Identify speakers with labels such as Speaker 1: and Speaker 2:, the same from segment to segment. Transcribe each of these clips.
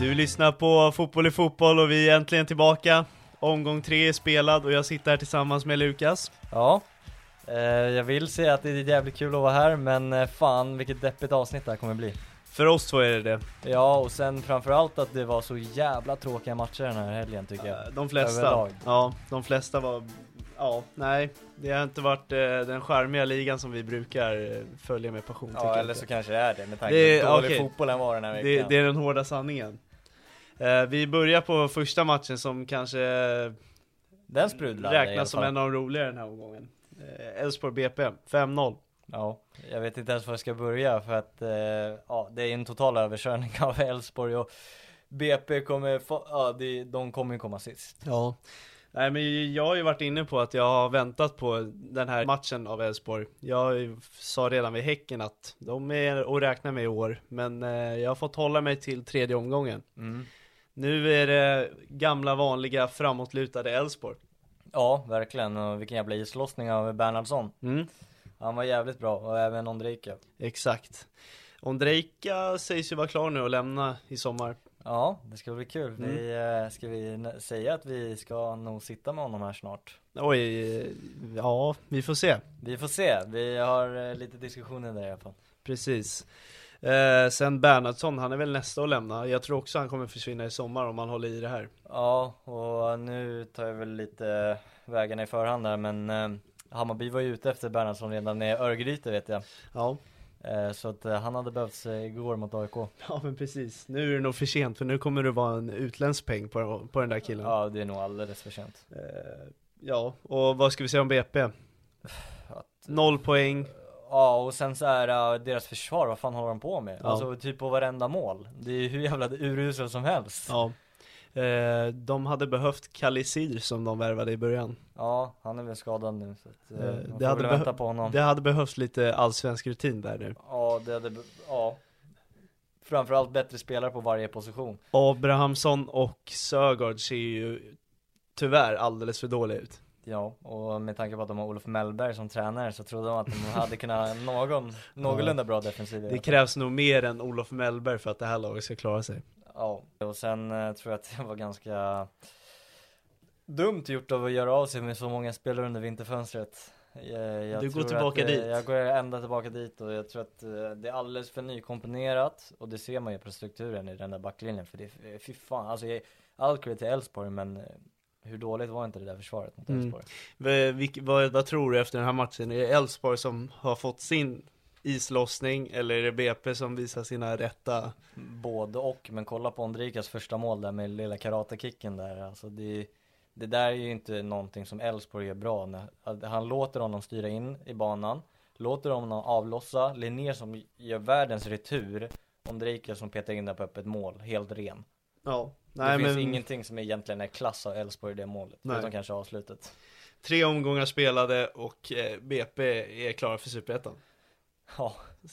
Speaker 1: Du lyssnar på Fotboll i fotboll och vi är äntligen tillbaka. Omgång tre är spelad och jag sitter här tillsammans med Lukas.
Speaker 2: Ja, eh, jag vill säga att det är jävligt kul att vara här men eh, fan vilket deppigt avsnitt det här kommer bli.
Speaker 1: För oss två är det det.
Speaker 2: Ja, och sen framförallt att det var så jävla tråkiga matcher den här helgen tycker jag.
Speaker 1: De flesta.
Speaker 2: Överlag.
Speaker 1: Ja, de flesta var... Ja, nej. Det har inte varit eh, den charmiga ligan som vi brukar eh, följa med passion. tycker
Speaker 2: Ja,
Speaker 1: jag
Speaker 2: eller
Speaker 1: inte.
Speaker 2: så kanske det är det med tanke
Speaker 1: Det är-
Speaker 2: på hur dålig
Speaker 1: okej.
Speaker 2: fotbollen var den här veckan.
Speaker 1: det, det är den hårda sanningen. Eh, vi börjar på första matchen som kanske eh,
Speaker 2: den sprudlade i alla
Speaker 1: räknas som
Speaker 2: fall.
Speaker 1: en av de roligare den här omgången. Eh, Elfsborg BP, 5-0.
Speaker 2: Ja, jag vet inte ens var jag ska börja för att eh, ja, det är en total överkörning av Elfsborg och BP kommer, få, ja, det, de kommer ju komma sist.
Speaker 1: Ja. Nej men jag har ju varit inne på att jag har väntat på den här matchen av Elfsborg. Jag sa redan vid Häcken att de är att räkna med i år, men eh, jag har fått hålla mig till tredje omgången. Nu är det gamla vanliga framåtlutade Elfsborg.
Speaker 2: Ja, verkligen. Och vilken jävla islossning av Bernhardsson.
Speaker 1: Mm.
Speaker 2: Han var jävligt bra, och även Ondrejka.
Speaker 1: Exakt. Ondrejka sägs ju vara klar nu och lämna i sommar.
Speaker 2: Ja, det ska bli kul. Vi, eh, ska vi n- säga att vi ska nog sitta med honom här snart?
Speaker 1: Oj, eh, ja, vi får se.
Speaker 2: Vi får se, vi har eh, lite diskussioner där i alla fall.
Speaker 1: Precis. Eh, sen Bernhardsson, han är väl nästa att lämna. Jag tror också han kommer försvinna i sommar om han håller i det här.
Speaker 2: Ja, och nu tar jag väl lite vägarna i förhand där, men eh, Hammarby var ju ute efter Bernhardsson redan i Örgryte vet jag.
Speaker 1: Ja.
Speaker 2: Eh, så att eh, han hade behövts eh, igår mot AIK.
Speaker 1: Ja men precis, nu är det nog för sent för nu kommer det vara en utländsk peng på, på den där killen ja.
Speaker 2: Ja, det är nog alldeles för sent.
Speaker 1: ja, och vad ska vi säga om BP? Noll poäng,
Speaker 2: Ja, och sen så är eh, deras försvar, vad fan håller de på med?
Speaker 1: Ja.
Speaker 2: Alltså typ på varenda mål. Det är ju hur jävla uruselt som helst.
Speaker 1: ja eh, De hade behövt Kalisir som de värvade i början
Speaker 2: Ja, han är väl skadad nu så att, eh,
Speaker 1: Eh,
Speaker 2: man
Speaker 1: det
Speaker 2: får
Speaker 1: hade
Speaker 2: väl
Speaker 1: behö-
Speaker 2: vänta på honom.
Speaker 1: Det hade behövts lite allsvensk rutin där nu
Speaker 2: Ja, det hade, be- ja. Framförallt bättre spelare på varje position.
Speaker 1: Abrahamsson och Sögaard ser ju tyvärr alldeles för dåliga ut
Speaker 2: Ja, och med tanke på att de har Olof Mellberg som tränare så trodde de att de hade kunnat ha någon, någorlunda bra defensiv. i
Speaker 1: Det
Speaker 2: alla fall.
Speaker 1: krävs nog mer än Olof Mellberg för att det här laget ska klara sig
Speaker 2: Ja, och sen eh, tror jag att det var ganska dumt gjort av att göra av sig med så många spelare under vinterfönstret. Jag, jag
Speaker 1: Du går
Speaker 2: tror att,
Speaker 1: tillbaka
Speaker 2: eh,
Speaker 1: dit.
Speaker 2: Jag går ända tillbaka dit och jag tror att eh, det är alldeles för nykomponerat och det ser man ju på strukturen i den där backlinjen för det är, fy fan, alltså jag, all credit till Elfsborg men eh, hur dåligt var inte det där försvaret mot
Speaker 1: Mm.
Speaker 2: Elfsborg?
Speaker 1: V- vilk- vad, vad tror du efter den här matchen? Är det Elfsborg som har fått sin islossning eller är det BP som visar sina rätta?
Speaker 2: Både och, men kolla på Ondrikas första mål där med lilla karatekicken där. Alltså det, det där är ju inte någonting som Elfsborg gör bra. När, att han låter honom styra in i banan, låter honom avlossa, Linnér som gör världens retur, Ondrika som petar in den på öppet mål, helt ren.
Speaker 1: Ja, nej
Speaker 2: det finns
Speaker 1: men
Speaker 2: ingenting som egentligen är klass av Elfsborg i det målet,
Speaker 1: Nej.
Speaker 2: förutom kanske avslutet.
Speaker 1: tre omgångar spelade och eh, BP är klara för Superettan.
Speaker 2: Ja,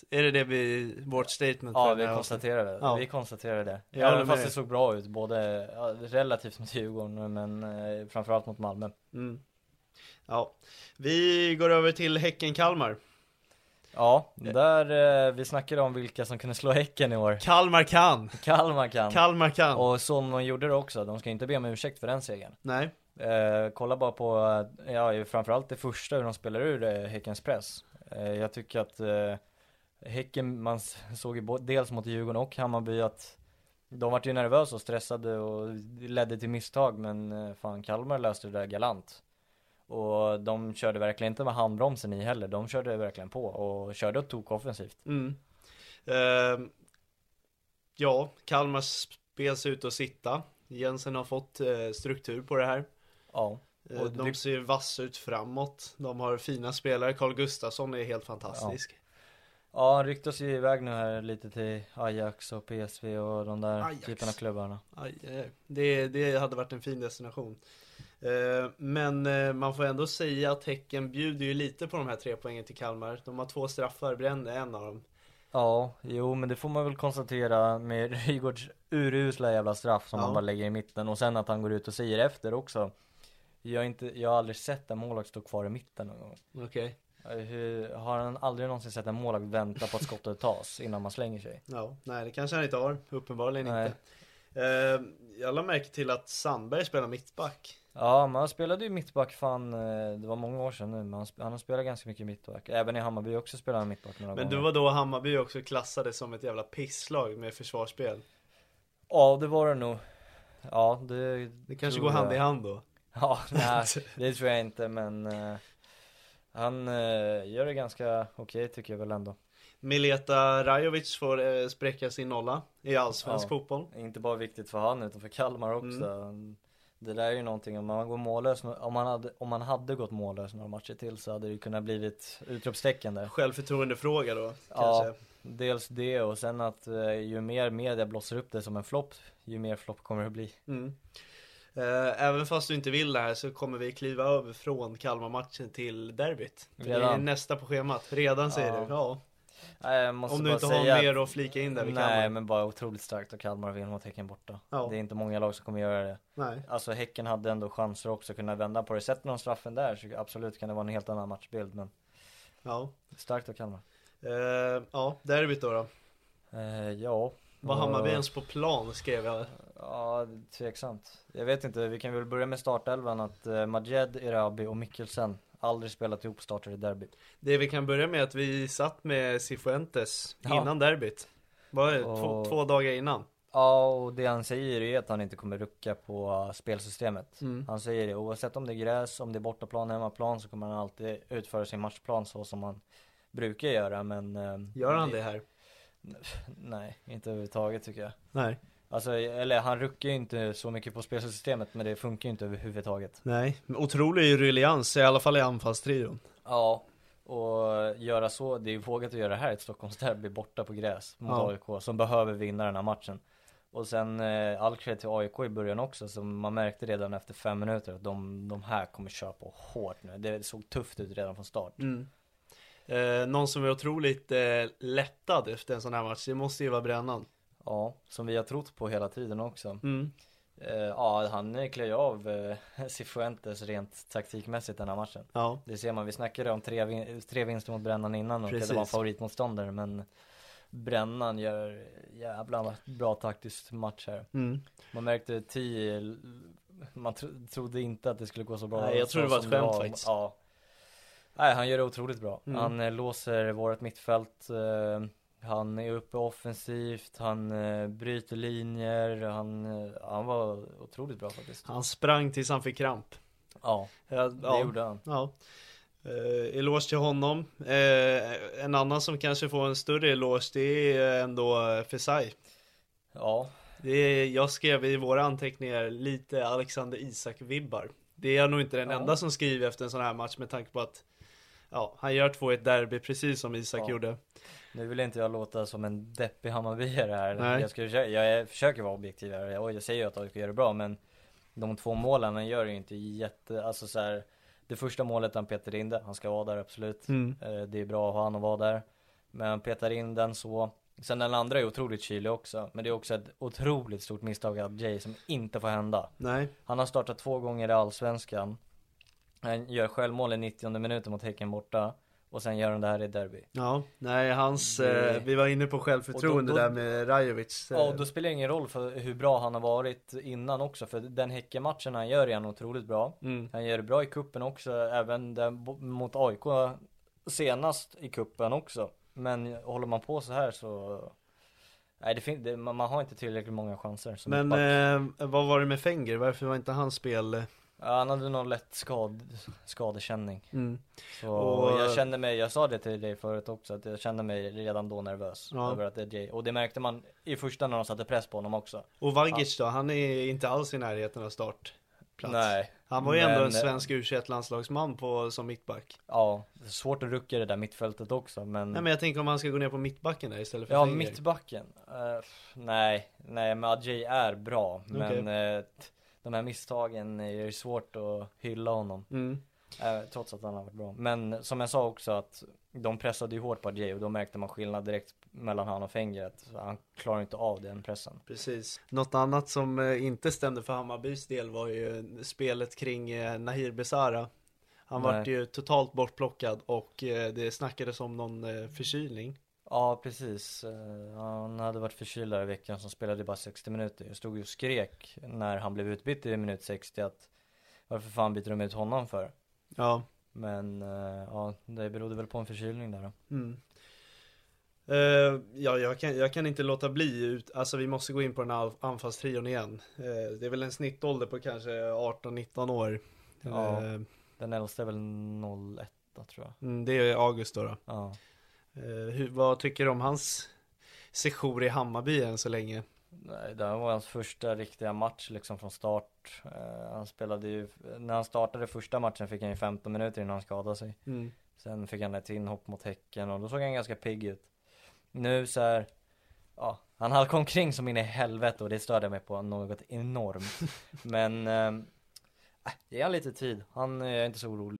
Speaker 1: Är det det vi, vårt statement?
Speaker 2: ja
Speaker 1: för
Speaker 2: vi
Speaker 1: den här
Speaker 2: konstaterar det.
Speaker 1: Ja.
Speaker 2: Vi konstaterar det.
Speaker 1: Jag håller
Speaker 2: Även fast
Speaker 1: med.
Speaker 2: det såg bra ut, både ja, relativt mot Djurgården men eh, framförallt mot Malmö.
Speaker 1: Mm. Ja, vi går över till Häcken-Kalmar.
Speaker 2: Ja, där eh, vi snackade om vilka som kunde slå Häcken i år.
Speaker 1: Kalmar kan!
Speaker 2: Kalmar kan.
Speaker 1: Kalmar kan!
Speaker 2: Och som de gjorde det också, de ska inte be om ursäkt för den segern.
Speaker 1: Nej,
Speaker 2: Eh, kolla bara på, eh, ja framförallt det första hur de spelar ur eh, Häckens press. Eh, jag tycker att eh, Häcken, man s- såg ju bo- dels mot Djurgården och Hammarby att de vart ju nervösa och stressade och det ledde till misstag men eh, fan Kalmar löste det där galant. Och de körde verkligen inte med handbromsen i heller, de körde verkligen på och körde och tog offensivt.
Speaker 1: mm. Ehm, ja, Kalmar spels ut och sitta. Jensen har fått eh, struktur på det här.
Speaker 2: Ja.
Speaker 1: Eh,
Speaker 2: Och
Speaker 1: de
Speaker 2: det-
Speaker 1: ser vassa ut framåt. De har fina spelare. Carl Gustafsson är helt fantastisk.
Speaker 2: Ja, han ryktas ju iväg nu här lite till Ajax och PSV och de där
Speaker 1: Ajax.
Speaker 2: typen av klubbarna.
Speaker 1: Aj, aj, aj. Det, det hade varit en fin destination. Eh, Men eh, man får ändå säga att Häcken bjuder ju lite på de här tre poängen till Kalmar. De har två straffar, brände en av dem.
Speaker 2: Ja, jo men det får man väl konstatera med Rygaards urusla jävla straff som
Speaker 1: Ja.
Speaker 2: han bara lägger i mitten och sen att han går ut och säger efter också. Jag, har inte, jag har aldrig sett en målvakt stå kvar i mitten någon gång.
Speaker 1: Okej.
Speaker 2: Eh, Hur, har han aldrig någonsin sett en målvakt vänta på att skottet tas innan man slänger sig?
Speaker 1: Ja, nej det kanske han inte har. Uppenbarligen
Speaker 2: Nej.
Speaker 1: inte. Eh, Jag lade märke till att Sandberg spelar mittback.
Speaker 2: Ja, men han spelade ju mittback fan, eh, det var många år sedan nu, men han, sp- han har spelat ganska mycket mittback. Även i Hammarby också spelade han mittback några
Speaker 1: Men
Speaker 2: gånger.
Speaker 1: det var då Hammarby också klassade som ett jävla pisslag med försvarsspel.
Speaker 2: Ja, det var det nog. Ja, det...
Speaker 1: Det kanske
Speaker 2: tror
Speaker 1: går hand
Speaker 2: jag.
Speaker 1: i hand då.
Speaker 2: Ja, nej, det tror jag inte, men eh, han eh, gör det ganska okej tycker jag väl ändå.
Speaker 1: Mileta Rajovic får eh, spräcka sin nolla i allsvensk
Speaker 2: Ja.
Speaker 1: fotboll.
Speaker 2: Inte bara viktigt för han utan för Kalmar också.
Speaker 1: Mm.
Speaker 2: Det där är ju någonting, om man går mållös, om man hade, om man hade gått mållös några matcher till så hade det ju kunnat blivit utropstecken där.
Speaker 1: Självförtroendefråga då
Speaker 2: Ja.
Speaker 1: kanske.
Speaker 2: Dels det och sen att eh, ju mer media blossar upp det som en flopp, ju mer flopp kommer det bli.
Speaker 1: Mm. Eh, Även fast du inte vill det här så kommer vi kliva över från Kalmar-matchen till derbyt. För Det är
Speaker 2: Redan.
Speaker 1: nästa på schemat. Redan säger
Speaker 2: Ja.
Speaker 1: du. Ja.
Speaker 2: Nej, jag måste
Speaker 1: Om du
Speaker 2: bara
Speaker 1: inte har
Speaker 2: säga att-
Speaker 1: mer att flika in där vid
Speaker 2: Nej,
Speaker 1: Kalmar.
Speaker 2: men bara otroligt starkt att Kalmar vinner mot Häcken borta.
Speaker 1: Ja.
Speaker 2: Det är inte många lag som kommer göra det.
Speaker 1: Nej.
Speaker 2: Alltså Häcken hade ändå chanser också att kunna vända på det. Sätter de straffen där så absolut kan det vara en helt annan matchbild. Men
Speaker 1: Ja.
Speaker 2: starkt av Kalmar.
Speaker 1: Eh, ja, derbyt då. då.
Speaker 2: Eh, ja.
Speaker 1: Var
Speaker 2: Och-
Speaker 1: Hammarby ens på plan skrev jag.
Speaker 2: Ja, tveksamt. Jag vet inte, vi kan väl börja med startelvan att eh, Majed, Erabi och Mikkelsen aldrig spelat ihop startar i derby.
Speaker 1: Det vi kan börja med är att vi satt med Cifuentes
Speaker 2: Ja.
Speaker 1: innan derbyt. Var det? Två,
Speaker 2: Och-
Speaker 1: två dagar innan.
Speaker 2: Ja, och det han säger är att han inte kommer rucka på eh, spelsystemet.
Speaker 1: Mm.
Speaker 2: Han säger det, oavsett om det är gräs, om det är bortaplan, hemmaplan så kommer han alltid utföra sin matchplan så som han brukar göra. Men eh,
Speaker 1: Gör han det här?
Speaker 2: Nej, inte överhuvudtaget tycker jag.
Speaker 1: Nej.
Speaker 2: Alltså, eller han ruckar ju inte så mycket på spelsystemet men det funkar ju inte överhuvudtaget.
Speaker 1: Nej. Men Otrolig ruljans, i alla fall i anfallstrion.
Speaker 2: Ja. Och göra så, det är ju vågat att göra det här i ett Stockholmsderby borta på gräs mot
Speaker 1: Ja.
Speaker 2: AIK som behöver vinna den här matchen. Och sen eh, all cred till AIK i början också som man märkte redan efter fem minuter att de, de här kommer köra på hårt nu. Det såg tufft ut redan från start.
Speaker 1: Mm. Eh, någon som är otroligt eh, lättad efter en sån här match, det måste ju vara Brännan.
Speaker 2: Ja, som vi har trott på hela tiden också.
Speaker 1: Mm.
Speaker 2: Eh, ja, han eh, klär ju av eh, Cifuentes rent taktikmässigt den här matchen.
Speaker 1: Ja.
Speaker 2: Det ser man, vi snackade om tre, vin- tre vinster mot Brännan innan och
Speaker 1: Precis.
Speaker 2: det var en favoritmotståndare men Brännan gör jävla bra taktiskt match här.
Speaker 1: Mm.
Speaker 2: Man märkte tio, man tro, trodde inte att det skulle gå så bra.
Speaker 1: Nej, jag tror
Speaker 2: så
Speaker 1: det var ett
Speaker 2: som
Speaker 1: skämt faktiskt.
Speaker 2: Ja. Nej, han gör det otroligt bra.
Speaker 1: Mm.
Speaker 2: Han eh, låser vårt mittfält, eh, han är uppe offensivt, han eh, bryter linjer, han, eh, han var otroligt bra faktiskt.
Speaker 1: Han sprang tills han fick kramp.
Speaker 2: Ja,
Speaker 1: Ja,
Speaker 2: det
Speaker 1: ja.
Speaker 2: gjorde han.
Speaker 1: Ja. Eh, eloge till honom. Eh, en annan som kanske får en större eloge det är ändå eh, Fesai.
Speaker 2: Ja,
Speaker 1: Det är, jag skrev i våra anteckningar lite Alexander Isak-vibbar. Det är jag nog inte den
Speaker 2: Ja.
Speaker 1: enda som skriver efter en sån här match med tanke på att ja, han gör 2-1 derby precis som Isak
Speaker 2: Ja.
Speaker 1: gjorde.
Speaker 2: Nu vill inte jag låta som en deppig Hammarbyare här.
Speaker 1: Nej.
Speaker 2: Jag, ska, försöka- jag är, försöker vara objektiv här och jag säger ju att AIK gör det bra men de två målen han gör är ju inte jätte, alltså så här, Det första målet han petar in det, han ska vara där absolut. Eh, Det är bra att ha han att vara där. Men petar in den så. Sen den andra är otroligt kylig också. Men det är också ett otroligt stort misstag av Jay som inte får hända.
Speaker 1: Nej.
Speaker 2: Han har startat två gånger i Allsvenskan. Han gör självmål i 90 minuten mot Häcken borta. Och sen gör han det här i derby.
Speaker 1: Ja, nej hans,
Speaker 2: Det-
Speaker 1: eh, vi var inne på självförtroende
Speaker 2: Och då- då-
Speaker 1: där med Rajovic. eh,
Speaker 2: Ja, och då spelar det ingen roll för hur bra han har varit innan också. För den Häckenmatchen han gör är han otroligt bra.
Speaker 1: Mm.
Speaker 2: Han gör det bra i kuppen också, även den, bo- mot AIK senast i kuppen också. Men håller man på så här så... Nej, det fin- det, man, man har inte tillräckligt många chanser. Som
Speaker 1: Men
Speaker 2: back.
Speaker 1: eh, vad var det med Fenger? Varför var inte hans spel?
Speaker 2: Ja, han hade någon lätt skad, skadekänning.
Speaker 1: Mm.
Speaker 2: Så
Speaker 1: Och-
Speaker 2: jag kände mig, jag sa det till dig förut också, att jag kände mig redan då nervös.
Speaker 1: Ja.
Speaker 2: Över att det är Jay. Och det märkte man i första när de satte press på honom också.
Speaker 1: Och Vagic då? Han är inte alls i närheten av startplats.
Speaker 2: Nej.
Speaker 1: Han var ju ändå en
Speaker 2: Men- eh,
Speaker 1: svensk u landslagsman på, som mittback.
Speaker 2: Ja, det är svårt att rucka i det där mittfältet också men,
Speaker 1: Nej men jag tänker om han ska gå ner på mittbacken där istället för
Speaker 2: Mm. Ja,
Speaker 1: Fenger.
Speaker 2: mittbacken. Eh, pff, nej, nej men Adjei är bra men eh, t- de här misstagen är ju svårt att hylla honom
Speaker 1: Mm.
Speaker 2: eh, trots att han har varit bra. Men som jag sa också att de pressade ju hårt på Adjei och då märkte man skillnad direkt mellan han och Fenger att han klarar inte av den pressen.
Speaker 1: Precis. Något annat som eh, inte stämde för Hammarbys del var ju spelet kring eh, Nahir Besara. Han
Speaker 2: Nej.
Speaker 1: vart ju totalt bortplockad och eh, det snackades om någon eh, förkylning.
Speaker 2: Ja precis, Eh, han hade varit förkyld här i veckan som spelade bara 60 minuter. Jag stod ju och skrek när han blev utbytt i minut 60 att varför fan byter de ut honom för?
Speaker 1: Ja.
Speaker 2: Men eh, ja, det berodde väl på en förkylning där då.
Speaker 1: Mm. Eh, ja, jag kan, jag kan inte låta bli, ut, alltså vi måste gå in på den här anfallstrion igen. Eh, det är väl en snittålder på kanske 18-19 år.
Speaker 2: Ja.
Speaker 1: Eh,
Speaker 2: Den äldsta är väl 01 då, tror jag.
Speaker 1: mm, det är August då. då.
Speaker 2: Ja.
Speaker 1: Eh, hur, vad tycker du om hans sejour i Hammarby än så länge?
Speaker 2: Nej, det här var hans första riktiga match liksom från start. Eh, han spelade ju, när han startade första matchen fick han ju 15 minuter innan han skadade sig.
Speaker 1: Mm.
Speaker 2: Sen fick han ett inhopp mot Häcken och då såg han ganska pigg ut. Nu så här, ja, han halkade omkring som in i helvete och det störde jag mig på något enormt. Men, eh, ge han lite tid. Han är inte så orolig.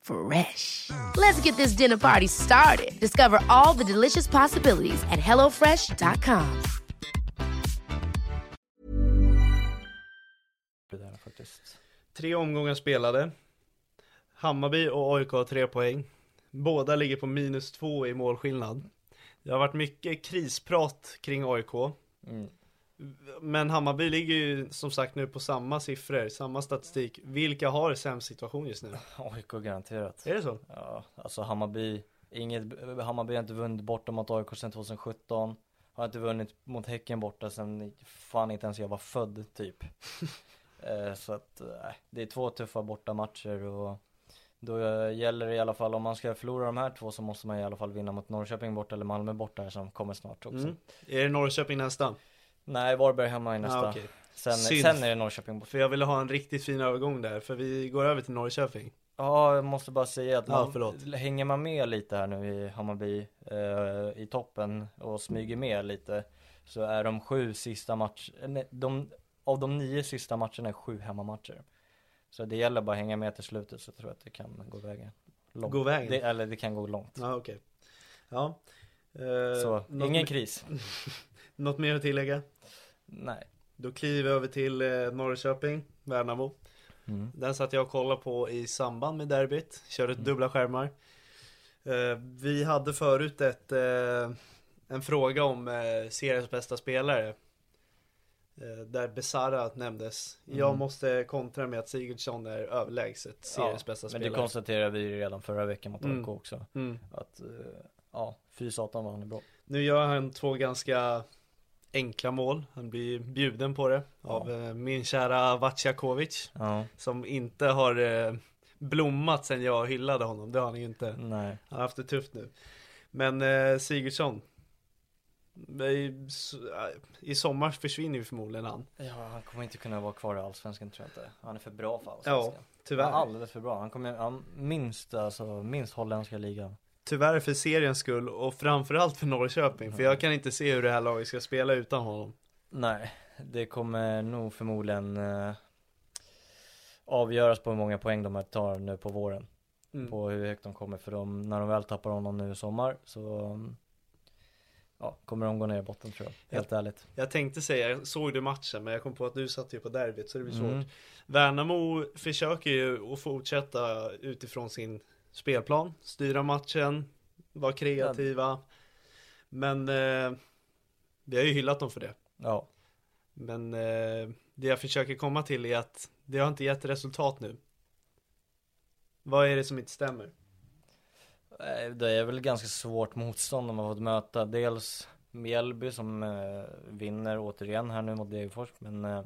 Speaker 3: Fresh. Let's get this dinner party started. Discover all the delicious possibilities at hellofresh.com.
Speaker 2: Det där faktiskt.
Speaker 1: Tre omgångar spelade. Hammarby och AIK har tre poäng. Båda ligger på minus två i målskillnad. Det har varit mycket krisprat kring AIK.
Speaker 2: Mm.
Speaker 1: Men Hammarby ligger ju som sagt nu på samma siffror, samma statistik. Vilka har sämst situation just nu?
Speaker 2: AIK garanterat.
Speaker 1: Är det så?
Speaker 2: Ja, alltså Hammarby, inget, Hammarby har inte vunnit borta mot AIK sedan 2017. Har inte vunnit mot Häcken borta sedan fan inte ens jag var född typ. eh, så att eh, det är två tuffa bortamatcher och då eh, gäller det i alla fall om man ska förlora de här två så måste man i alla fall vinna mot Norrköping borta eller Malmö borta här som kommer snart också.
Speaker 1: Mm. Är det Norrköping nästa?
Speaker 2: Nej, Varberg hemma i nästa.
Speaker 1: Ah, okej.
Speaker 2: sen,
Speaker 1: Synd.
Speaker 2: sen är det Norrköping borta.
Speaker 1: För jag ville ha en riktigt fin övergång där, för vi går över till Norrköping.
Speaker 2: Ja, jag måste bara säga att
Speaker 1: Ja,
Speaker 2: man,
Speaker 1: förlåt.
Speaker 2: hänger man med lite här nu i Hammarby eh, i toppen och smyger med lite så är de sju sista match, eh, nej, de, av de nio sista matcherna är sju hemmamatcher. Så det gäller bara att hänga med till slutet så tror jag att det kan gå vägen. Långt.
Speaker 1: Gå vägen?
Speaker 2: Det, eller det kan gå långt.
Speaker 1: Ja, okej. Ja. Eh,
Speaker 2: så,
Speaker 1: något,
Speaker 2: ingen
Speaker 1: me-
Speaker 2: kris.
Speaker 1: något mer att tillägga?
Speaker 2: Nej.
Speaker 1: Då kliver jag över till eh, Norrköping, Värnamo.
Speaker 2: Mm.
Speaker 1: Den satt jag och kollade på i samband med derbyt. Körde dubbla skärmar. Eh, vi hade förut ett, eh, en fråga om eh, seriens bästa spelare. eh, där Besara nämndes.
Speaker 2: Mm.
Speaker 1: Jag måste kontra med att Sigurdsson är överlägset seriens bästa
Speaker 2: men
Speaker 1: spelare.
Speaker 2: det konstaterade vi ju redan förra veckan mot AIK
Speaker 1: Mm.
Speaker 2: också.
Speaker 1: Mm.
Speaker 2: Att, eh, ja, fy satan vad han är bra.
Speaker 1: Nu gör han två ganska enkla mål. Han blir bjuden på det av eh, min kära Vatjakovic.
Speaker 2: Ja,
Speaker 1: Som inte har eh, blommat sen jag hyllade honom. Det har han ju inte.
Speaker 2: nej.
Speaker 1: Han har haft det tufft nu. Men eh, Sigurdsson. I, eh, I sommar försvinner ju förmodligen han.
Speaker 2: Ja, han kommer inte kunna vara kvar i Allsvenskan tror jag inte. Han är för bra för
Speaker 1: Ja,
Speaker 2: Allsvenskan. Han är
Speaker 1: tyvärr.
Speaker 2: alldeles för bra. Han kommer, ja, minst alltså, minst holländska ligan.
Speaker 1: Tyvärr för seriens skull och framförallt för Norrköping. För jag kan inte se hur det här laget ska spela utan honom.
Speaker 2: Nej, det kommer nog förmodligen eh, avgöras på hur många poäng de här tar nu på våren.
Speaker 1: Mm.
Speaker 2: På hur högt de kommer. För de, när de väl tappar honom nu i sommar så mm, ja, kommer de gå ner i botten tror jag. Helt ärligt.
Speaker 1: Jag tänkte säga, jag såg du matchen men jag kom på att du satt ju på derbyt så det blir svårt.
Speaker 2: Mm.
Speaker 1: Värnamo försöker ju att fortsätta utifrån sin spelplan, styra matchen, vara kreativa. Men eh, vi har ju hyllat dem för det.
Speaker 2: Ja,
Speaker 1: Men eh, det jag försöker komma till är att det har inte gett resultat nu. Vad är det som inte stämmer?
Speaker 2: Eh, Det är väl ganska svårt motstånd de har fått möta. Dels Mjällby som eh, vinner återigen här nu mot Degerfors. Men eh,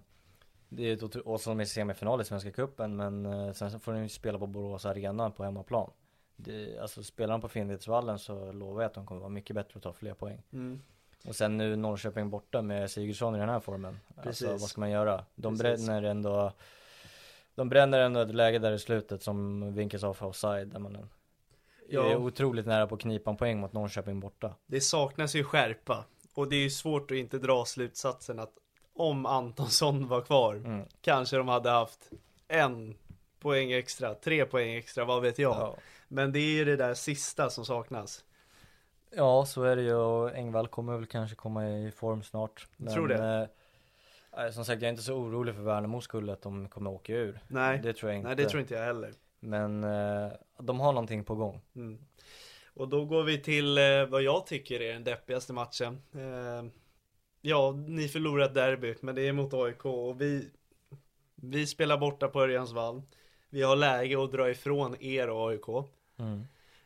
Speaker 2: det är ett otro- och som är semifinal i Svenska Cupen Men eh, sen så får de ju spela på Borås Arena på hemmaplan. Det, alltså spelar de på Finnvedsvallen så lovar jag att de kommer vara mycket bättre och ta fler poäng.
Speaker 1: Mm.
Speaker 2: Och sen nu Norrköping borta med Sigurdsson i den här formen.
Speaker 1: Precis.
Speaker 2: Alltså vad ska man göra? De
Speaker 1: Precis.
Speaker 2: bränner ändå de bränner ändå ett läge där i slutet som vinkas av för offside där man
Speaker 1: Ja.
Speaker 2: är otroligt nära på att knipa en poäng mot Norrköping borta.
Speaker 1: Det saknas ju skärpa och det är ju svårt att inte dra slutsatsen att om Antonsson var kvar
Speaker 2: Mm.
Speaker 1: kanske de hade haft en poäng extra, tre poäng extra, vad vet jag.
Speaker 2: Ja.
Speaker 1: Men det är ju det där sista som saknas.
Speaker 2: Ja, så är det ju och Engvall kommer väl kanske komma i form snart. Men,
Speaker 1: Tror det.
Speaker 2: eh, eh, som sagt, jag är inte så orolig för Värnamos skull att de kommer åka ur.
Speaker 1: Nej.
Speaker 2: Det tror jag inte.
Speaker 1: Nej, det tror inte Mm. jag heller.
Speaker 2: Men eh, de har någonting på gång.
Speaker 1: Och då går vi till eh, vad jag tycker är den deppigaste matchen. Eh, ja, ni förlorat derbyt, men det är mot AIK och vi, vi spelar borta på Örjans vall. Vi har läge att dra ifrån er och AIK.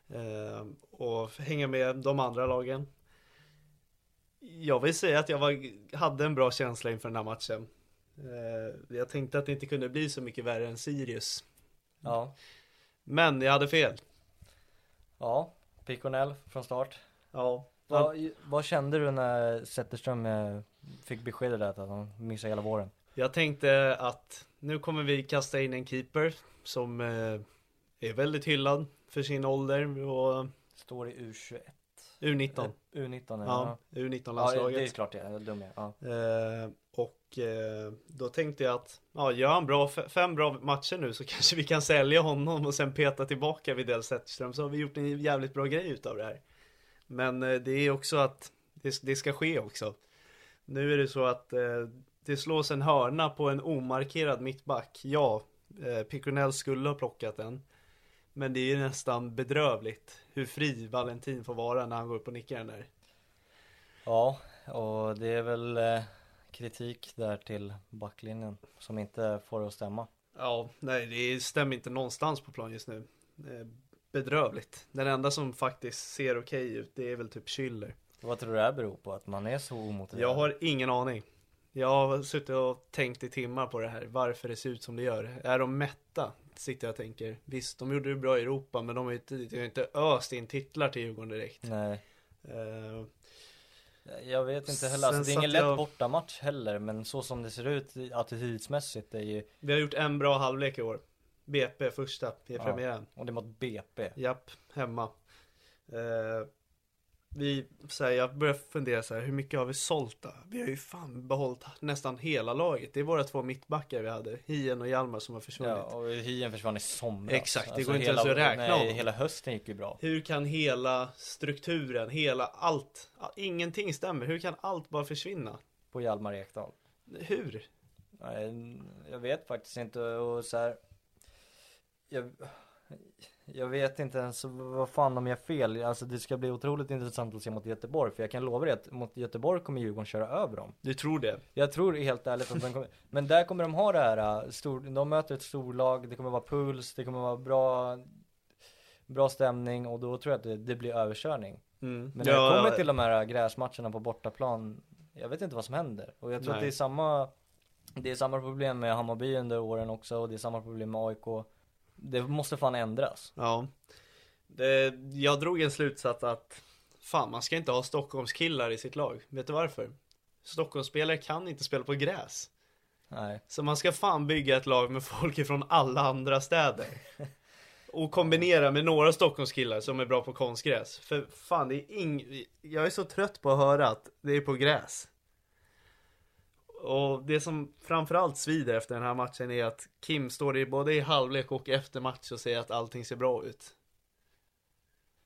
Speaker 1: Eh, och hänga med de andra lagen. Jag vill säga att jag var, hade en bra känsla inför den här matchen. Eh, jag tänkte att det inte kunde bli så mycket värre än Sirius.
Speaker 2: Ja.
Speaker 1: Men jag hade fel.
Speaker 2: Ja, Piconell från start.
Speaker 1: Ja,
Speaker 2: Vad, vad kände du när Zetterström eh, fick beskedet där att han missade hela våren?
Speaker 1: Jag tänkte att nu kommer vi kasta in en keeper som eh, är väldigt hyllad för sin ålder och
Speaker 2: Står i U21.
Speaker 1: U19.
Speaker 2: U19 eller?
Speaker 1: Ja,
Speaker 2: ja, det är
Speaker 1: U19-landslaget.
Speaker 2: klart det. Jag är dum jag. Ja.
Speaker 1: eh, och eh, då tänkte jag att ja, gör han bra, f- fem bra matcher nu så kanske vi kan sälja honom och sen peta tillbaka Widell Zetterström så har vi gjort en jävligt bra grej utav det här. Men eh, det är också att det, det ska ske också. Nu är det så att eh, det slås en hörna på en omarkerad mittback. Ja, eh, Piconell skulle ha plockat den. Men det är ju nästan bedrövligt hur fri Valentin får vara när han går upp och nickar den där.
Speaker 2: Ja, och det är väl eh, kritik där till backlinjen som inte får det att stämma.
Speaker 1: Ja, nej det stämmer inte någonstans på plan just nu. Eh, Bedrövligt. Den enda som faktiskt ser okej ut det är väl typ Schüller.
Speaker 2: Vad tror du det här beror på? Att man är så omotiverad?
Speaker 1: Jag har ingen aning. Jag har suttit och tänkt i timmar på det här, varför det ser ut som det gör. Är de mätta? Sitter jag och tänker. Visst, de gjorde det bra i Europa, men de har ju inte, de har ju inte öst in titlar till Djurgården direkt.
Speaker 2: Nej,
Speaker 1: Eh,
Speaker 2: jag vet inte heller. Alltså,
Speaker 1: Sen
Speaker 2: det är ingen
Speaker 1: satt
Speaker 2: lätt
Speaker 1: jag-
Speaker 2: bortamatch heller, men så som det ser ut i- attitydsmässigt är ju...
Speaker 1: vi har gjort en bra halvlek i år. BP första i premiären.
Speaker 2: Och det är mot BP.
Speaker 1: Japp, hemma. Eh, vi, så här, jag börjar fundera så här, hur mycket har vi sålt då? Vi har ju fan behållit nästan hela laget. Det är våra två mittbackar vi hade, Hien och Hjalmar som har försvunnit.
Speaker 2: Ja, och hyen försvann i somras.
Speaker 1: Exakt, det går inte ens att räkna
Speaker 2: Nej,
Speaker 1: om.
Speaker 2: hela hösten gick ju bra.
Speaker 1: Hur kan hela strukturen, hela allt, a- ingenting stämmer. Hur kan allt bara försvinna?
Speaker 2: På Hjalmar Ekdal.
Speaker 1: Hur?
Speaker 2: Nej, jag vet faktiskt inte och så här, jag, Jag vet inte ens vad fan om jag är fel. Alltså det ska bli otroligt intressant att se mot Göteborg. För jag kan lova dig att mot Göteborg kommer Djurgården köra över dem.
Speaker 1: Du tror det?
Speaker 2: Jag tror helt ärligt att de kommer, men där kommer de ha det här, äh, stor, de möter ett storlag, det kommer vara puls, det kommer vara bra, bra stämning och då tror jag att det, det blir överkörning.
Speaker 1: Mm.
Speaker 2: Men när det kommer till de här gräsmatcherna på bortaplan, jag vet inte vad som händer. Och jag tror att
Speaker 1: Nej.
Speaker 2: det är samma, det är samma problem med Hammarby under åren också och det är samma problem med AIK. Det måste fan ändras.
Speaker 1: Ja. Det, jag drog en slutsats att fan, man ska inte ha Stockholmskillar i sitt lag. Vet du varför? Stockholmsspelare kan inte spela på gräs.
Speaker 2: Nej.
Speaker 1: Så man ska fan bygga ett lag med folk ifrån alla andra städer. Och kombinera med några Stockholmskillar som är bra på konstgräs. För fan, det är ing... jag är så trött på att höra att det är på gräs. Och det som framförallt svider efter den här matchen är att Kim står i både i halvlek och efter match och säger att allting ser bra ut.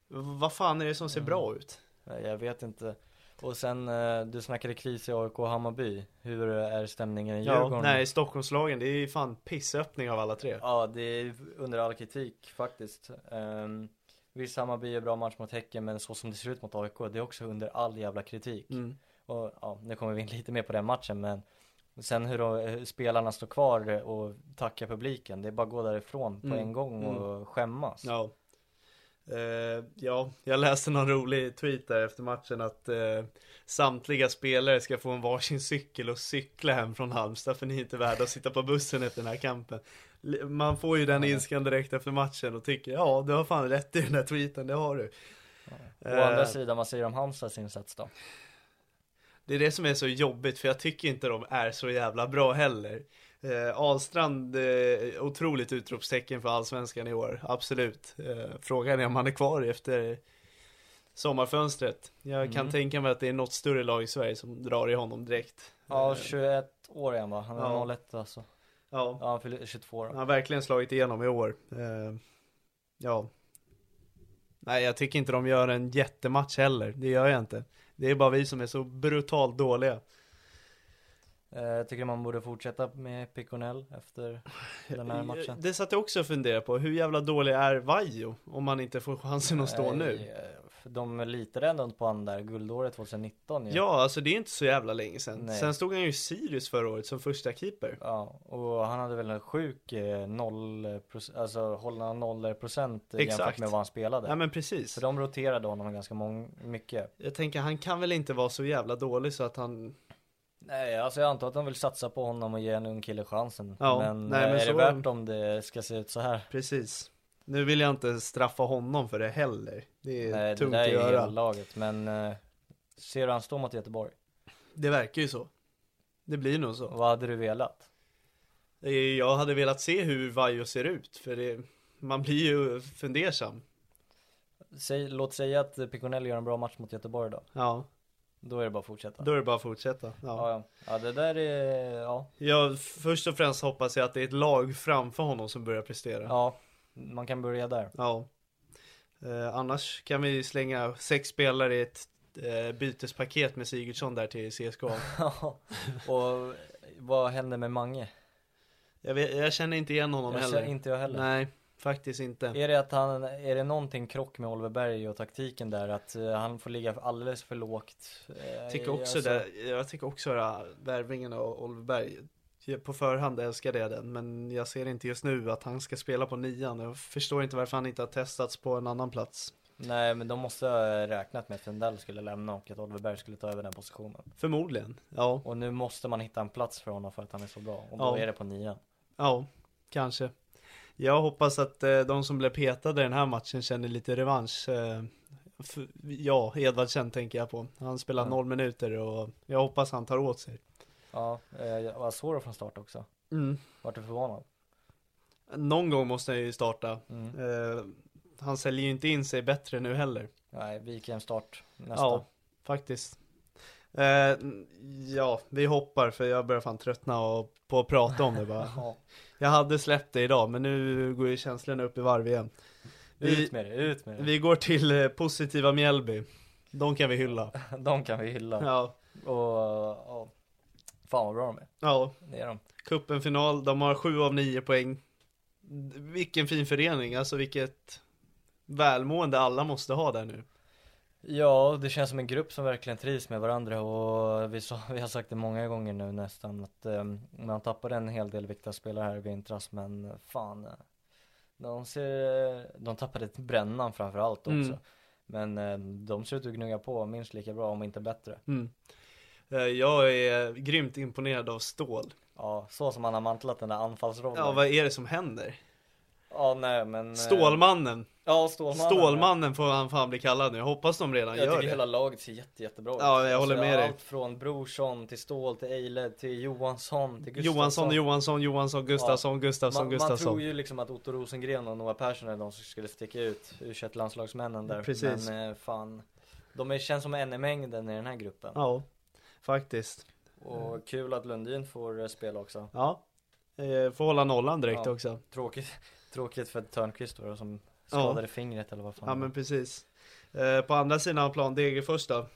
Speaker 1: V- Vad fan är det som ser bra ut?
Speaker 2: Nej, Jag vet inte. Och sen, eh, du snackade kris i AIK och Hammarby. Hur är stämningen i Djurgården?
Speaker 1: Ja, nej, Stockholmslagen, det är ju fan pissöppning av alla tre.
Speaker 2: Ja, det är under all kritik faktiskt. Um, visst, Hammarby är bra match mot Häcken, men så som det ser ut mot AIK, det är också under all jävla kritik.
Speaker 1: Mm.
Speaker 2: Och ja, nu kommer vi in lite mer på den matchen, men sen hur, då, hur spelarna står kvar och tackar publiken, det är bara att gå därifrån på
Speaker 1: Mm,
Speaker 2: en gång och skämmas.
Speaker 1: Ja. Eh, ja, jag läste någon rolig tweet där efter matchen att eh, samtliga spelare ska få en varsin cykel och cykla hem från Halmstad för ni är inte värda att sitta på bussen efter den här kampen. L- Man får ju den ilskan direkt efter matchen och tycker ja, du har fan rätt i den här tweeten, det har du.
Speaker 2: Å andra
Speaker 1: Eh.
Speaker 2: sidan, vad säger du om Halmstads insats då?
Speaker 1: Det är det som är så jobbigt för jag tycker inte de är så jävla bra heller. Eh, Ahlstrand, eh, otroligt utropstecken för allsvenskan i år, absolut. Eh, frågan är om han är kvar efter sommarfönstret. Jag kan tänka mig att det är något större lag i Sverige som drar i honom direkt. Eh,
Speaker 2: Ja, 21 år är han va? Han är
Speaker 1: Ja.
Speaker 2: 01 alltså.
Speaker 1: Ja,
Speaker 2: Ja, han fyller 22 då.
Speaker 1: han har verkligen slagit igenom i år. Eh, ja. Nej, jag tycker inte de gör en jättematch heller, det gör jag inte. Det är bara vi som är så brutalt dåliga.
Speaker 2: Eh, Jag tycker man borde fortsätta med Piconell efter den här matchen.
Speaker 1: Det satt jag också och funderade på. Hur jävla dålig är Vajo om man inte får chansen att stå
Speaker 2: Nej,
Speaker 1: nu?
Speaker 2: eh, för De litade ändå på han där guldåret 2019 ju.
Speaker 1: Ja, alltså det är inte så jävla länge sedan.
Speaker 2: Nej.
Speaker 1: Sen stod han ju i Sirius förra året som första keeper.
Speaker 2: Ja, och han hade väl en sjuk eh, noll, eh, proc- alltså hålla nollor procent eh,
Speaker 1: Exakt.
Speaker 2: jämfört med vad han spelade.
Speaker 1: Ja men precis.
Speaker 2: Så de roterade honom ganska mång- mycket.
Speaker 1: Jag tänker han kan väl inte vara så jävla dålig så att han...
Speaker 2: Nej, alltså jag antar att de vill satsa på honom och ge en ung kille chansen.
Speaker 1: Ja,
Speaker 2: men,
Speaker 1: nej,
Speaker 2: eh,
Speaker 1: men
Speaker 2: är
Speaker 1: så-
Speaker 2: det värt om det ska se ut så här?
Speaker 1: Precis. Nu vill jag inte straffa honom för det heller. Det är
Speaker 2: Nej, det
Speaker 1: tungt
Speaker 2: där
Speaker 1: att
Speaker 2: är ju
Speaker 1: göra.
Speaker 2: hela laget, men eh, ser du han stå mot Göteborg?
Speaker 1: Det verkar ju så. Det blir nog så.
Speaker 2: Vad hade du velat?
Speaker 1: Jag hade velat se hur Vajo ser ut för det... man blir ju fundersam.
Speaker 2: Säg, låt säga att Piconell gör en bra match mot Göteborg då.
Speaker 1: Ja,
Speaker 2: Då är det bara att fortsätta.
Speaker 1: då är det bara att fortsätta.
Speaker 2: Ja, ja. ja det där är, ja.
Speaker 1: Ja, först och främst hoppas jag att det är ett lag framför honom som börjar prestera. Ja.
Speaker 2: ja, man kan börja där.
Speaker 1: Eh, annars kan vi slänga sex spelare i ett eh, bytespaket med Sigurdsson där till CSKA.
Speaker 2: och vad händer med Mange?
Speaker 1: jag, vet, jag känner inte igen honom
Speaker 2: Jag
Speaker 1: heller.
Speaker 2: känner inte jag heller.
Speaker 1: Nej, faktiskt inte.
Speaker 2: Är det att han, är det någonting krock med Oliver Berg och taktiken där? Att eh, han får ligga alldeles för lågt? Eh,
Speaker 1: Jag tycker också
Speaker 2: alltså,
Speaker 1: det, jag tycker också det här, värvningen av Oliver Berg. Jag- På förhand älskade jag den, men jag ser inte just nu att han ska spela på nian. Jag förstår inte varför han inte har testats på en annan plats.
Speaker 2: Nej men de måste ha räknat med att Fendell skulle lämna och att Oliver Berg skulle ta över den positionen.
Speaker 1: Förmodligen, ja.
Speaker 2: Och nu måste man hitta en plats för honom för att han är så bra. Och då
Speaker 1: Ja.
Speaker 2: är det på nian.
Speaker 1: Ja, kanske. Jag hoppas att eh, de som blev petade i den här matchen känner lite revansch. Eh, för, ja, Edvardsen tänker jag på. Han spelar
Speaker 2: Ja.
Speaker 1: noll minuter och jag hoppas han tar åt sig.
Speaker 2: Ja, eh, jag var Soro från start också. Vart du förvånad?
Speaker 1: Någon gång måste han ju starta.
Speaker 2: Mm.
Speaker 1: Eh, han säljer ju inte in sig bättre nu heller.
Speaker 2: Nej, Viken start nästa.
Speaker 1: Ja, faktiskt. Eh, ja, vi hoppar för jag börjar fan tröttna och, på att prata om det bara.
Speaker 2: Ja.
Speaker 1: Jag hade släppt det idag men nu går ju känslorna upp i varv igen. Vi-
Speaker 2: Ut med det, ut med det.
Speaker 1: Vi går till eh, positiva Mjällby. De kan vi hylla.
Speaker 2: De kan vi hylla.
Speaker 1: Ja,
Speaker 2: Och, ja. Fan vad bra de är.
Speaker 1: ja.
Speaker 2: Det är de.
Speaker 1: Cupenfinal, de har 7 av 9 poäng. vilken fin förening, alltså vilket välmående alla måste ha där nu.
Speaker 2: Ja, det känns som en grupp som verkligen trivs med varandra och vi, sa, vi har sagt det många gånger nu nästan att eh, man tappade en hel del viktiga spelare här i vintras men fan eh, de, ser, de tappade brännan framför allt också
Speaker 1: Mm.
Speaker 2: men eh, de ser ut att gnugga på minst lika bra om inte bättre
Speaker 1: Mm. Eh, Jag är grymt imponerad av Stål.
Speaker 2: ja, så som han har mantlat den där anfallsrollen
Speaker 1: Ja, vad är det som händer?
Speaker 2: Ja, nej men eh,
Speaker 1: Stålmannen.
Speaker 2: Ja, Stålmannen
Speaker 1: Stålmannen får han fan bli kallad nu. Jag hoppas de redan
Speaker 2: Jag
Speaker 1: gör
Speaker 2: tycker
Speaker 1: det.
Speaker 2: hela laget ser jätte, jättebra ut Alltså,
Speaker 1: Ja, jag håller med dig.
Speaker 2: Allt från Brorsson till Ståhl till Eile till Johansson till Gustafsson
Speaker 1: Johansson, Johansson, Johansson, Gustafsson, Gustafsson,
Speaker 2: man, man
Speaker 1: Gustafsson.
Speaker 2: tror ju liksom att Otto Rosengren och Noah Persson är de som skulle sticka ut ur landslagsmännen där
Speaker 1: Precis.
Speaker 2: Men eh, fan De är, känns som en i mängden i den här gruppen
Speaker 1: Ja, faktiskt.
Speaker 2: Och kul att Lundin får eh, spela också
Speaker 1: Ja. Eh, Får hålla nollan direkt
Speaker 2: Ja.
Speaker 1: också.
Speaker 2: Tråkigt, tråkigt för Törnqvist var det som
Speaker 1: Ja.
Speaker 2: skadade fingret eller vad fan
Speaker 1: Ja
Speaker 2: det var.
Speaker 1: men precis. Eh, På andra sidan av plan, Degerfors då. Eh,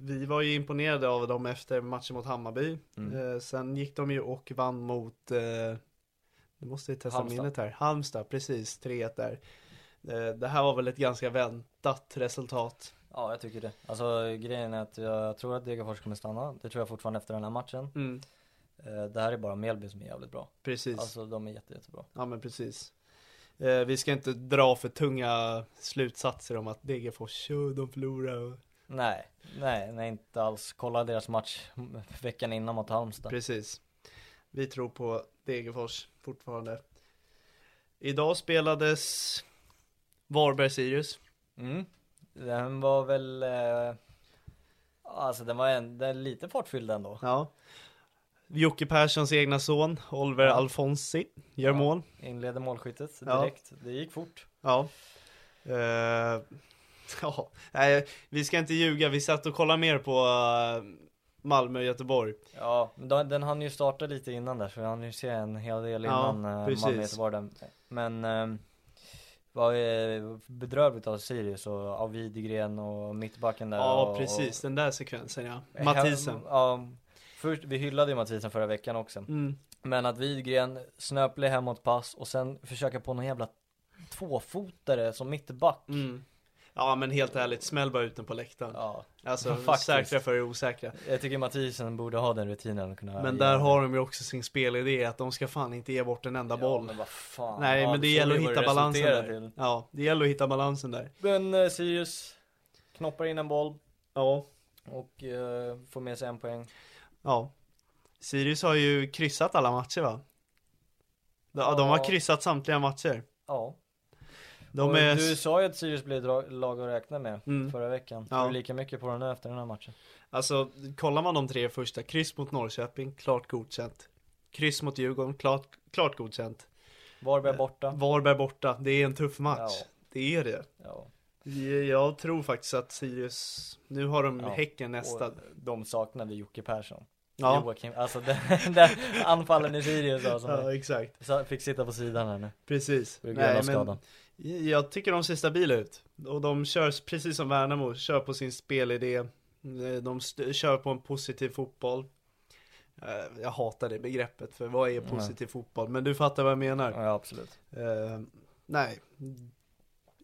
Speaker 1: Vi var ju imponerade av dem efter matchen mot Hammarby.
Speaker 2: Mm.
Speaker 1: Eh, Sen gick de ju och vann mot, eh, nu måste jag testa
Speaker 2: Halmstad.
Speaker 1: minnet här, Halmstad, precis, 3-1 där. Eh, Det här var väl ett ganska väntat resultat.
Speaker 2: ja jag tycker det Alltså grejen är att jag tror att Degerfors kommer stanna Det tror jag fortfarande efter den här matchen
Speaker 1: Mm,
Speaker 2: eh, Det här är bara Mjällby som är jävligt bra
Speaker 1: precis.
Speaker 2: Alltså de är jätte, jättebra
Speaker 1: Ja men precis. Eh, vi ska inte dra för tunga slutsatser om att Degerfors, "Åh, de förlorar.
Speaker 2: Nej, nej, nej inte alls Kolla deras match veckan innan mot Halmstad
Speaker 1: Precis. Vi tror på Degerfors fortfarande. Idag spelades Varberg-Sirius.
Speaker 2: Mm. Den var väl, eh, alltså den var, en, den är lite fartfylld ändå.
Speaker 1: Ja. Jocke Perssons egna son, Oliver
Speaker 2: Ja.
Speaker 1: Alfonsi, gör
Speaker 2: Ja.
Speaker 1: mål.
Speaker 2: Inleder målskyttet
Speaker 1: Ja.
Speaker 2: direkt. Det gick fort.
Speaker 1: Ja. Eh, ja. Nej, vi ska inte ljuga, vi satt och kollade mer på eh, Malmö och Göteborg.
Speaker 2: Ja, men den, den hann ju starta lite innan där så han ju se en hel del
Speaker 1: Ja,
Speaker 2: innan ja,
Speaker 1: precis.
Speaker 2: Malmö Göteborg där. Men eh, var eh, bedrövligt av Sirius och av Widegren och mittbacken där.
Speaker 1: Ja,
Speaker 2: och,
Speaker 1: precis, den där sekvensen ja.
Speaker 2: och,
Speaker 1: Mathisen.
Speaker 2: Ja, först, vi hyllade ju Mathisen förra veckan också.
Speaker 1: Mm.
Speaker 2: Men att Widgren snöplig hemåtpass och sen försöka på någon jävla tvåfotare som mittback.
Speaker 1: Mm. Ja men helt ärligt, smäll bara ut den på läktaren.
Speaker 2: Ja,
Speaker 1: Alltså
Speaker 2: Faktiskt.
Speaker 1: säkra för det osäkra.
Speaker 2: jag tycker Mathisen borde ha den rutinen och kunna
Speaker 1: Men där har de ju också sin spelidé att de ska fan inte ge bort en enda
Speaker 2: ja,
Speaker 1: boll.
Speaker 2: men vad fan.
Speaker 1: Nej
Speaker 2: Ja,
Speaker 1: men det
Speaker 2: såg
Speaker 1: gäller att
Speaker 2: ju vad
Speaker 1: hitta
Speaker 2: det
Speaker 1: balansen där.
Speaker 2: resulterade till.
Speaker 1: Ja, det gäller att hitta balansen där.
Speaker 2: Men eh, Sirius knoppar in en boll
Speaker 1: Ja.
Speaker 2: och eh, får med sig en poäng.
Speaker 1: Ja. Sirius har ju kryssat alla matcher va? De, ja. de har
Speaker 2: Ja.
Speaker 1: kryssat samtliga matcher.
Speaker 2: Ja.
Speaker 1: De
Speaker 2: och
Speaker 1: är...
Speaker 2: Du sa ju att Sirius blir ett dra- lag att räkna med
Speaker 1: Mm.
Speaker 2: förra veckan.
Speaker 1: Ja.
Speaker 2: Tror du lika mycket på den nu efter den här matchen?
Speaker 1: Alltså, kollar man de tre första, kryss mot Norrköping, klart godkänt. Kryss mot Djurgården, klart, klart godkänt. Eh,
Speaker 2: Varberg borta.
Speaker 1: Varberg borta, det är en tuff match.
Speaker 2: Ja.
Speaker 1: Det är det.
Speaker 2: ja.
Speaker 1: Jag tror faktiskt att Sirius, nu har de
Speaker 2: Ja.
Speaker 1: Häcken nästa.
Speaker 2: Och de saknade Jocke Persson.
Speaker 1: Ja.
Speaker 2: Joakim, alltså den, den anfallen i Sirius alltså.
Speaker 1: Ja, exakt.
Speaker 2: Så han fick sitta på sidan här nu.
Speaker 1: Precis.
Speaker 2: På grund av skadan.
Speaker 1: jag tycker de ser stabila ut. Och de kör, precis som Värnamo, kör på sin spelidé. Eh, De st- kör på en positiv fotboll. Eh, Jag hatar det begreppet, för vad är positiv fotboll? Men du fattar vad jag menar.
Speaker 2: Ja, absolut.
Speaker 1: Eh, nej,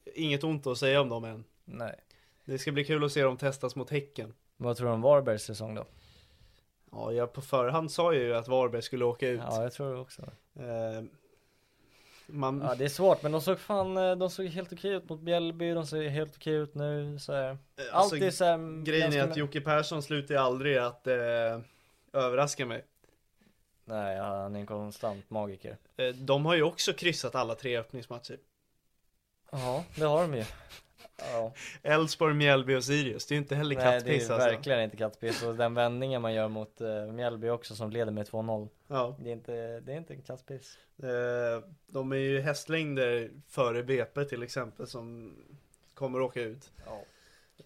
Speaker 1: inget ont att säga om dem än.
Speaker 2: Nej.
Speaker 1: Det ska bli kul att se dem testas mot Häcken.
Speaker 2: Vad tror du om Varbergs säsong då?
Speaker 1: Ja, jag på förhand sa ju att Varberg skulle åka ut.
Speaker 2: Ja, jag tror det också.
Speaker 1: Eh, man,
Speaker 2: Ja, det är svårt, men de såg fan, eh, de såg helt okej ut mot Bjällby, de ser helt okej ut nu så här.
Speaker 1: alltså,
Speaker 2: Allt är så här,
Speaker 1: Grejen är
Speaker 2: ganska-
Speaker 1: att Jocke Persson slutar ju aldrig att eh, överraska mig.
Speaker 2: Nej, ja, han är en konstant magiker.
Speaker 1: Eh, de har ju också kryssat alla tre öppningsmatcher.
Speaker 2: Ja, det har de ju. Ja.
Speaker 1: Elfsborg, Mjällby och Sirius, det är ju inte heller
Speaker 2: Nej, det
Speaker 1: kattpiss
Speaker 2: är
Speaker 1: alltså.
Speaker 2: verkligen inte kattpiss. Och den vändningen man gör mot eh, Mjällby också som leder med 2-0.
Speaker 1: Ja,
Speaker 2: Det är inte, det är inte kattpiss.
Speaker 1: eh, de är ju hästlängder före BP till exempel som kommer åka ut.
Speaker 2: Ja.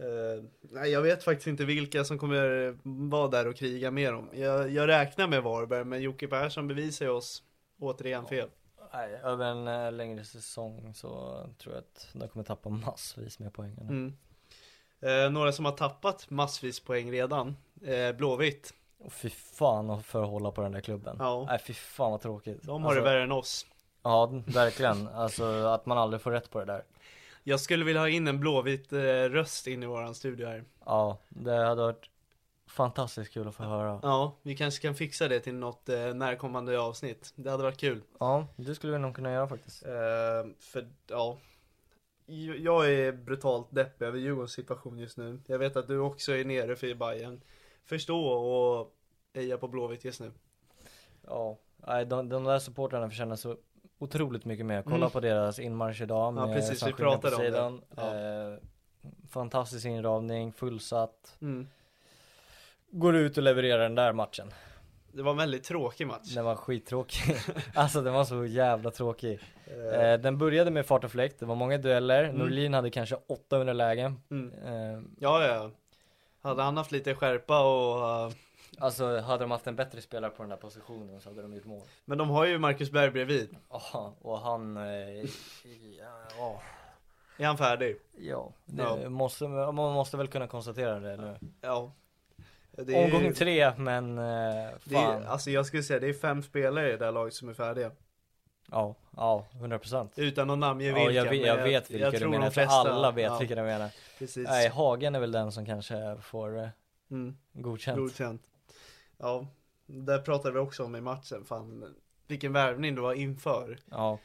Speaker 1: Eh, nej, jag vet faktiskt inte vilka som kommer vara där och kriga med dem. Jag, jag räknar med Varberg, men Jocke Persson bevisar ju oss återigen fel.
Speaker 2: Nej, över en eh, längre säsong så tror jag att de kommer tappa massvis med poäng.
Speaker 1: Mm. Eh, några som har tappat massvis poäng redan, eh, Blåvitt.
Speaker 2: Och fy fan att förhålla på den där klubben.
Speaker 1: Ja.
Speaker 2: Nej fy fan vad tråkigt.
Speaker 1: Alltså, De har det värre än oss.
Speaker 2: Ja, verkligen. Alltså att man aldrig får rätt på det där.
Speaker 1: Jag skulle vilja ha in en blåvit eh, röst in i våran studio här.
Speaker 2: Ja, det hade varit fantastiskt kul att få höra.
Speaker 1: Ja, vi kanske kan fixa det till något eh, närkommande avsnitt. Det hade varit kul.
Speaker 2: Ja, det skulle vi nog kunna göra faktiskt.
Speaker 1: Eh, för ja, J- jag är brutalt deppig över Djurgårdens situation just nu. Jag vet att du också är nere för Bayern. Förstå och heja på Blåvitt just nu.
Speaker 2: Ja, nej, de, de där supportrarna förtjänar så otroligt mycket mer. Kolla
Speaker 1: Mm.
Speaker 2: på deras inmarsch idag med
Speaker 1: precis, vi
Speaker 2: Sankt
Speaker 1: pratade
Speaker 2: på
Speaker 1: om det.
Speaker 2: sidan.
Speaker 1: Ja.
Speaker 2: Eh, fantastisk inramning, fullsatt.
Speaker 1: Mm.
Speaker 2: Går ut och levererar den där matchen.
Speaker 1: Det var en väldigt tråkig match.
Speaker 2: Den var skittråkig. alltså den var så jävla tråkig.
Speaker 1: Eh,
Speaker 2: Eh, den började med fart och fläkt, det var många dueller. Norlin hade kanske 800 lägen.
Speaker 1: Mm.
Speaker 2: Eh,
Speaker 1: Ja, ja. Hade han haft lite skärpa och... eh,
Speaker 2: alltså hade de haft en bättre spelare på den där positionen så hade de gjort mål.
Speaker 1: men de har ju Marcus Berg bredvid.
Speaker 2: Ja, och han... Eh, ja, ja.
Speaker 1: Är han färdig?
Speaker 2: Ja, det
Speaker 1: Ja.
Speaker 2: Måste, man måste väl kunna konstatera det nu.
Speaker 1: Ja. Det är,
Speaker 2: Omgång tre, men eh, fan.
Speaker 1: Det är, alltså jag skulle säga det är fem spelare i det där laget som är färdiga.
Speaker 2: Ja, ja, 100 procent.
Speaker 1: Utan att namnge
Speaker 2: Ja,
Speaker 1: vilka.
Speaker 2: jag, vet-
Speaker 1: men
Speaker 2: jag vet vilka du
Speaker 1: eh, tror de
Speaker 2: menar, jag tror
Speaker 1: flesta-
Speaker 2: alla vet
Speaker 1: ja,
Speaker 2: vilka du menar.
Speaker 1: Precis.
Speaker 2: Nej, Hagen är väl den som kanske får eh,
Speaker 1: Mm,
Speaker 2: godkänt.
Speaker 1: godkänt. Ja, där pratade vi också om i matchen. Fan, vilken värvning det var inför.
Speaker 2: Ja,